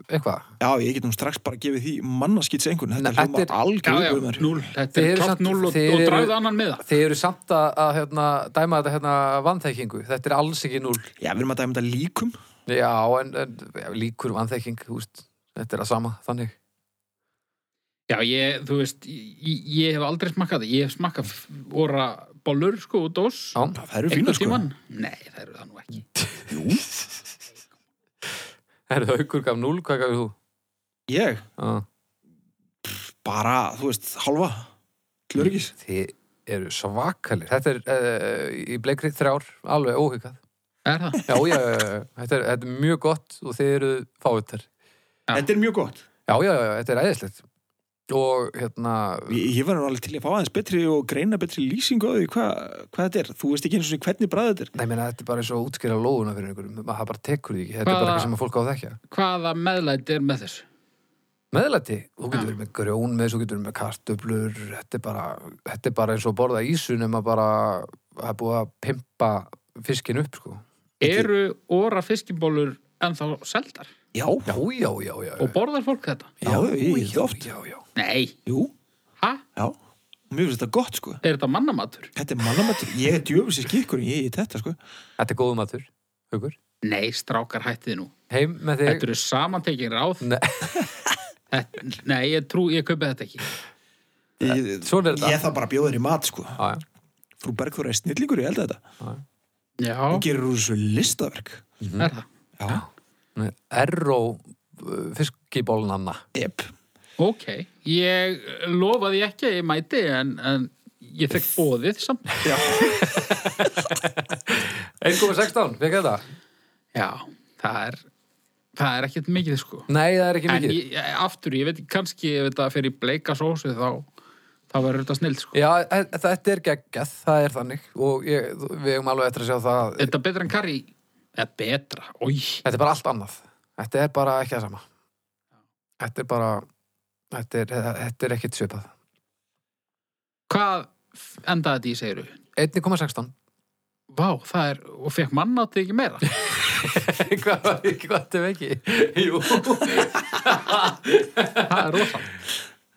[SPEAKER 3] eitthvað.
[SPEAKER 2] Já, ég get nú strax bara gefið því mannaskýts einhvern.
[SPEAKER 3] Nei,
[SPEAKER 2] Þetta
[SPEAKER 3] þetta
[SPEAKER 2] hljómar
[SPEAKER 3] er-
[SPEAKER 1] Já, já,
[SPEAKER 2] algjör um
[SPEAKER 1] núl, þetta
[SPEAKER 3] Þeir
[SPEAKER 1] er
[SPEAKER 3] eru
[SPEAKER 1] klart
[SPEAKER 3] samt-
[SPEAKER 1] núl og,
[SPEAKER 3] þeir
[SPEAKER 1] og
[SPEAKER 3] eru-
[SPEAKER 1] dragðu annan með það.
[SPEAKER 3] Þið eru samt að, að hérna, dæma þetta hérna vanþekkingu. Þetta er alls ekki núl.
[SPEAKER 2] Já, við erum að dæma þetta líkum.
[SPEAKER 3] Já, en, en já, líkur vanþekking, þú veist, þetta er að sama, þannig.
[SPEAKER 1] Já, ég, þú veist, ég, ég hef aldrei smakkað það. Ég hef smakkað f- óra bollur, sko, og dós.
[SPEAKER 3] Já,
[SPEAKER 2] Það eru fína sko.
[SPEAKER 1] tíman. Nei, það eru það nú ekki.
[SPEAKER 3] er það aukur gaf núl, hvað gafið þú?
[SPEAKER 2] Ég,
[SPEAKER 3] Já.
[SPEAKER 2] bara, þú veist, halva. Glörgis.
[SPEAKER 3] Þið eru svakalir. Þetta er uh, í bleikri þrjár, alveg óhugað.
[SPEAKER 1] Er það?
[SPEAKER 3] Já, já, já, já, þetta er, þetta er mjög gott og þið eru fáuttar.
[SPEAKER 1] Já.
[SPEAKER 2] Þetta er mjög gott.
[SPEAKER 3] Já, já, já, þetta er æðislegt. Og hérna,
[SPEAKER 2] Ég, ég var nú alveg til að fá aðeins betri og greina betri lýsingu á því hva, hvað þetta er. Þú veist ekki eins og hvernig bræði þetta er.
[SPEAKER 3] nei, meina, þetta er bara eins og útskýra lóðuna fyrir einhverjum. Maður- Það bara tekur því ekki. Þetta er bara
[SPEAKER 1] Hvaða-
[SPEAKER 3] eitthvað sem að fólk á að þekkja.
[SPEAKER 1] Hvaða meðlæti er með þessu?
[SPEAKER 3] Meðlæti, þú getur
[SPEAKER 1] Já.
[SPEAKER 3] verið með grjón með, þú getur verið með kartöflur, þetta er bara, þetta er bara eins og að borða ísu nema bara það er búið að pimpa fiskin upp, sko.
[SPEAKER 1] Eru óra fiskibólur ennþá seldar?
[SPEAKER 2] Já,
[SPEAKER 3] Já, já, já, já.
[SPEAKER 1] Og borðar fólk þetta?
[SPEAKER 2] já, ég ég- oft.
[SPEAKER 3] Já, já.
[SPEAKER 1] Nei,
[SPEAKER 2] Jú,
[SPEAKER 1] hæ?
[SPEAKER 2] já. Mér finnst þetta gott sko.
[SPEAKER 1] Er þetta mannamatur?
[SPEAKER 2] Þetta er mannamættur. Ég er djöfisins kikkur, ég er þetta sko.
[SPEAKER 3] Þetta er góðum matur, hugur.
[SPEAKER 1] Nei, strákar hættið nú.
[SPEAKER 3] Heim með þig.
[SPEAKER 1] Þetta eru samantekin ráð.
[SPEAKER 3] Nei.
[SPEAKER 1] Þetta, nei, ég trú, ég kaupi þetta ekki.
[SPEAKER 2] Ég,
[SPEAKER 3] Svona er þetta.
[SPEAKER 2] Ég þarf bara að bjóða þér í mat sko.
[SPEAKER 3] Já, já.
[SPEAKER 2] Frú Bergþóra er snillingur, ég held að þetta.
[SPEAKER 1] Já,
[SPEAKER 2] Hún gerir úr þessu listaverk.
[SPEAKER 1] er það.
[SPEAKER 2] Já.
[SPEAKER 3] Nei, Erró uh, fiskibólnanna.
[SPEAKER 2] Jep.
[SPEAKER 1] Ok, ég lofaði ekki að ég mæti en, en ég fekk bóðið samt.
[SPEAKER 3] 1,16, við gæta það.
[SPEAKER 1] Já, það er, það er ekkert mikið sko.
[SPEAKER 3] Nei, það er ekki
[SPEAKER 1] En
[SPEAKER 3] mikið.
[SPEAKER 1] ég, eh, aftur, ég veit ekki, kannski ef þetta fer í bleika sósu þá, þá verður þetta snill sko.
[SPEAKER 3] Já, e- þetta er geggjað, það er þannig. Og ég, þú- við hefum alveg eftir að sjá það.
[SPEAKER 1] Þetta er betra en karri, eða betra, oi,
[SPEAKER 3] Þetta er bara allt annað. Þetta er bara ekki að sama. Þetta er bara, þetta er, þetta er ekkit svipað.
[SPEAKER 1] hvað f- endaði þetta í segiru?
[SPEAKER 3] 1,16.
[SPEAKER 1] Vá, það er, og fekk mann átti ekki meira.
[SPEAKER 3] Hvað var ekki, hvað þetta er ekki? Jú.
[SPEAKER 1] það er rosalega.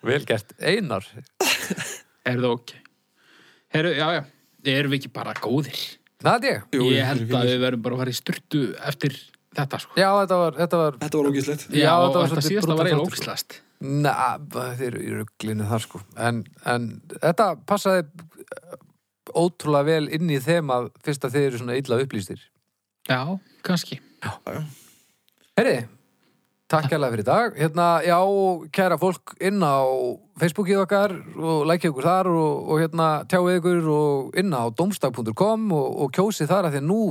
[SPEAKER 3] Vel gert. Einar.
[SPEAKER 1] Er það ok? Heru, já, já, erum við ekki bara góðir?
[SPEAKER 3] Það er ég.
[SPEAKER 2] Jú,
[SPEAKER 1] ég held að við verðum bara að fara í styrtu eftir þetta sko.
[SPEAKER 3] Já, þetta var, þetta var,
[SPEAKER 2] Þetta var ógíslegt.
[SPEAKER 3] Já,
[SPEAKER 1] og
[SPEAKER 3] þetta var
[SPEAKER 1] þetta
[SPEAKER 3] svolítið
[SPEAKER 1] síðasta var
[SPEAKER 3] brútal
[SPEAKER 1] eiginlega
[SPEAKER 3] þáttur, sko.
[SPEAKER 1] ógislast.
[SPEAKER 3] na, þeir eru í rugglinu þar sko. En, en þetta passaði ótrúlega vel inn í þeim að fyrst að þeir eru svona illa upplýstir.
[SPEAKER 1] Já, kannski.
[SPEAKER 3] Herri, takk hérlega fyrir í dag. Hérna, já, og kæra fólk inn á Facebookið okkar og lækja ykkur þar og, og hérna, tjáið ykkur og inn á domstag.com og, og kjósið þar að því að nú,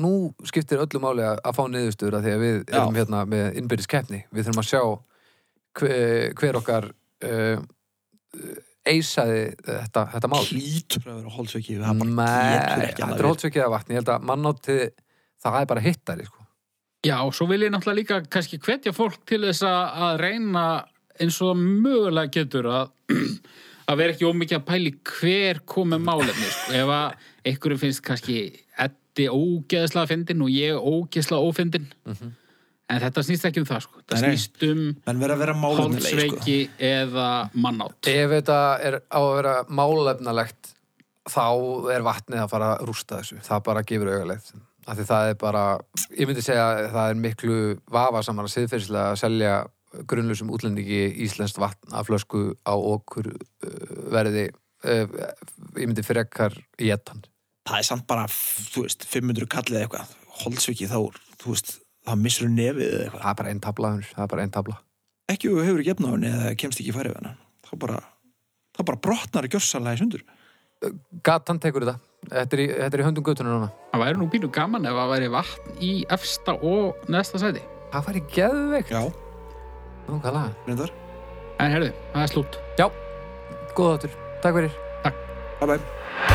[SPEAKER 3] nú skiptir öllu máli að, að fá niðurstöður að því að við erum hérna með innbyrðis keppni. Við þurfum að sjá hver, hver okkar uh, eisaði þetta, þetta mál.
[SPEAKER 2] Hlýtur að vera hálsveiki. Það bara getur
[SPEAKER 3] Nei,
[SPEAKER 2] ekki
[SPEAKER 3] þetta
[SPEAKER 2] annað
[SPEAKER 3] er
[SPEAKER 2] verið.
[SPEAKER 3] holdsveikið af vatni. Ég held að mannátti það er bara hittari, sko.
[SPEAKER 1] Já, og svo vil ég náttúrulega líka kannski hvetja fólk til þess að að reyna eins og mögulega getur að, að vera ekki ómikið að pæli hver komið málefni. Sko. Ef að einhverju finnst kannski Eddi ógeðslega fyndin og ég ógeðslega ófyndin. En þetta snýst ekki um það, sko. Það
[SPEAKER 2] Mhm. Nei, nei.
[SPEAKER 1] snýst um
[SPEAKER 2] Menn verða að vera málefnileg sko. E-
[SPEAKER 1] hálfsveiki eða mannátt.
[SPEAKER 3] Ef þetta er á að vera málefnalegt þá er vatnið að fara að rústa þessu. Það bara gefur augalegt. Af því það er bara, ég myndi segja að það er miklu vafasamara siðferðislega að selja grunnlausum útlendingi íslenskt vatn af flösku á okkur uh, verði uh, ég myndi frekar í ettan.
[SPEAKER 2] það er samt bara, þú veist, 500 kallið eða eitthvað, holdsviki þá, er, þú veist, þá missur þú nefið eða eitthvað.
[SPEAKER 3] Það er bara einn tabla, hundur. það er bara einn tabla.
[SPEAKER 2] Ekki ef þú hefur gefna á henni eða kemst ekki í færi við hennar. Þá bara, þá bara brotnar gjörsanlega í sundur.
[SPEAKER 3] Gatan tekur þetta. Þetta er í, þetta er í höndum göttunum núna.
[SPEAKER 1] Það væri nú pínu gaman ef að væri vatn í efsta og neðsta sæti.
[SPEAKER 3] Það fari geðveikt.
[SPEAKER 2] Já,
[SPEAKER 3] Nókala.
[SPEAKER 2] reyndar.
[SPEAKER 1] En herðu, það er slútt.
[SPEAKER 3] Já, góða áttur. Takk fyrir.
[SPEAKER 2] Bye bye.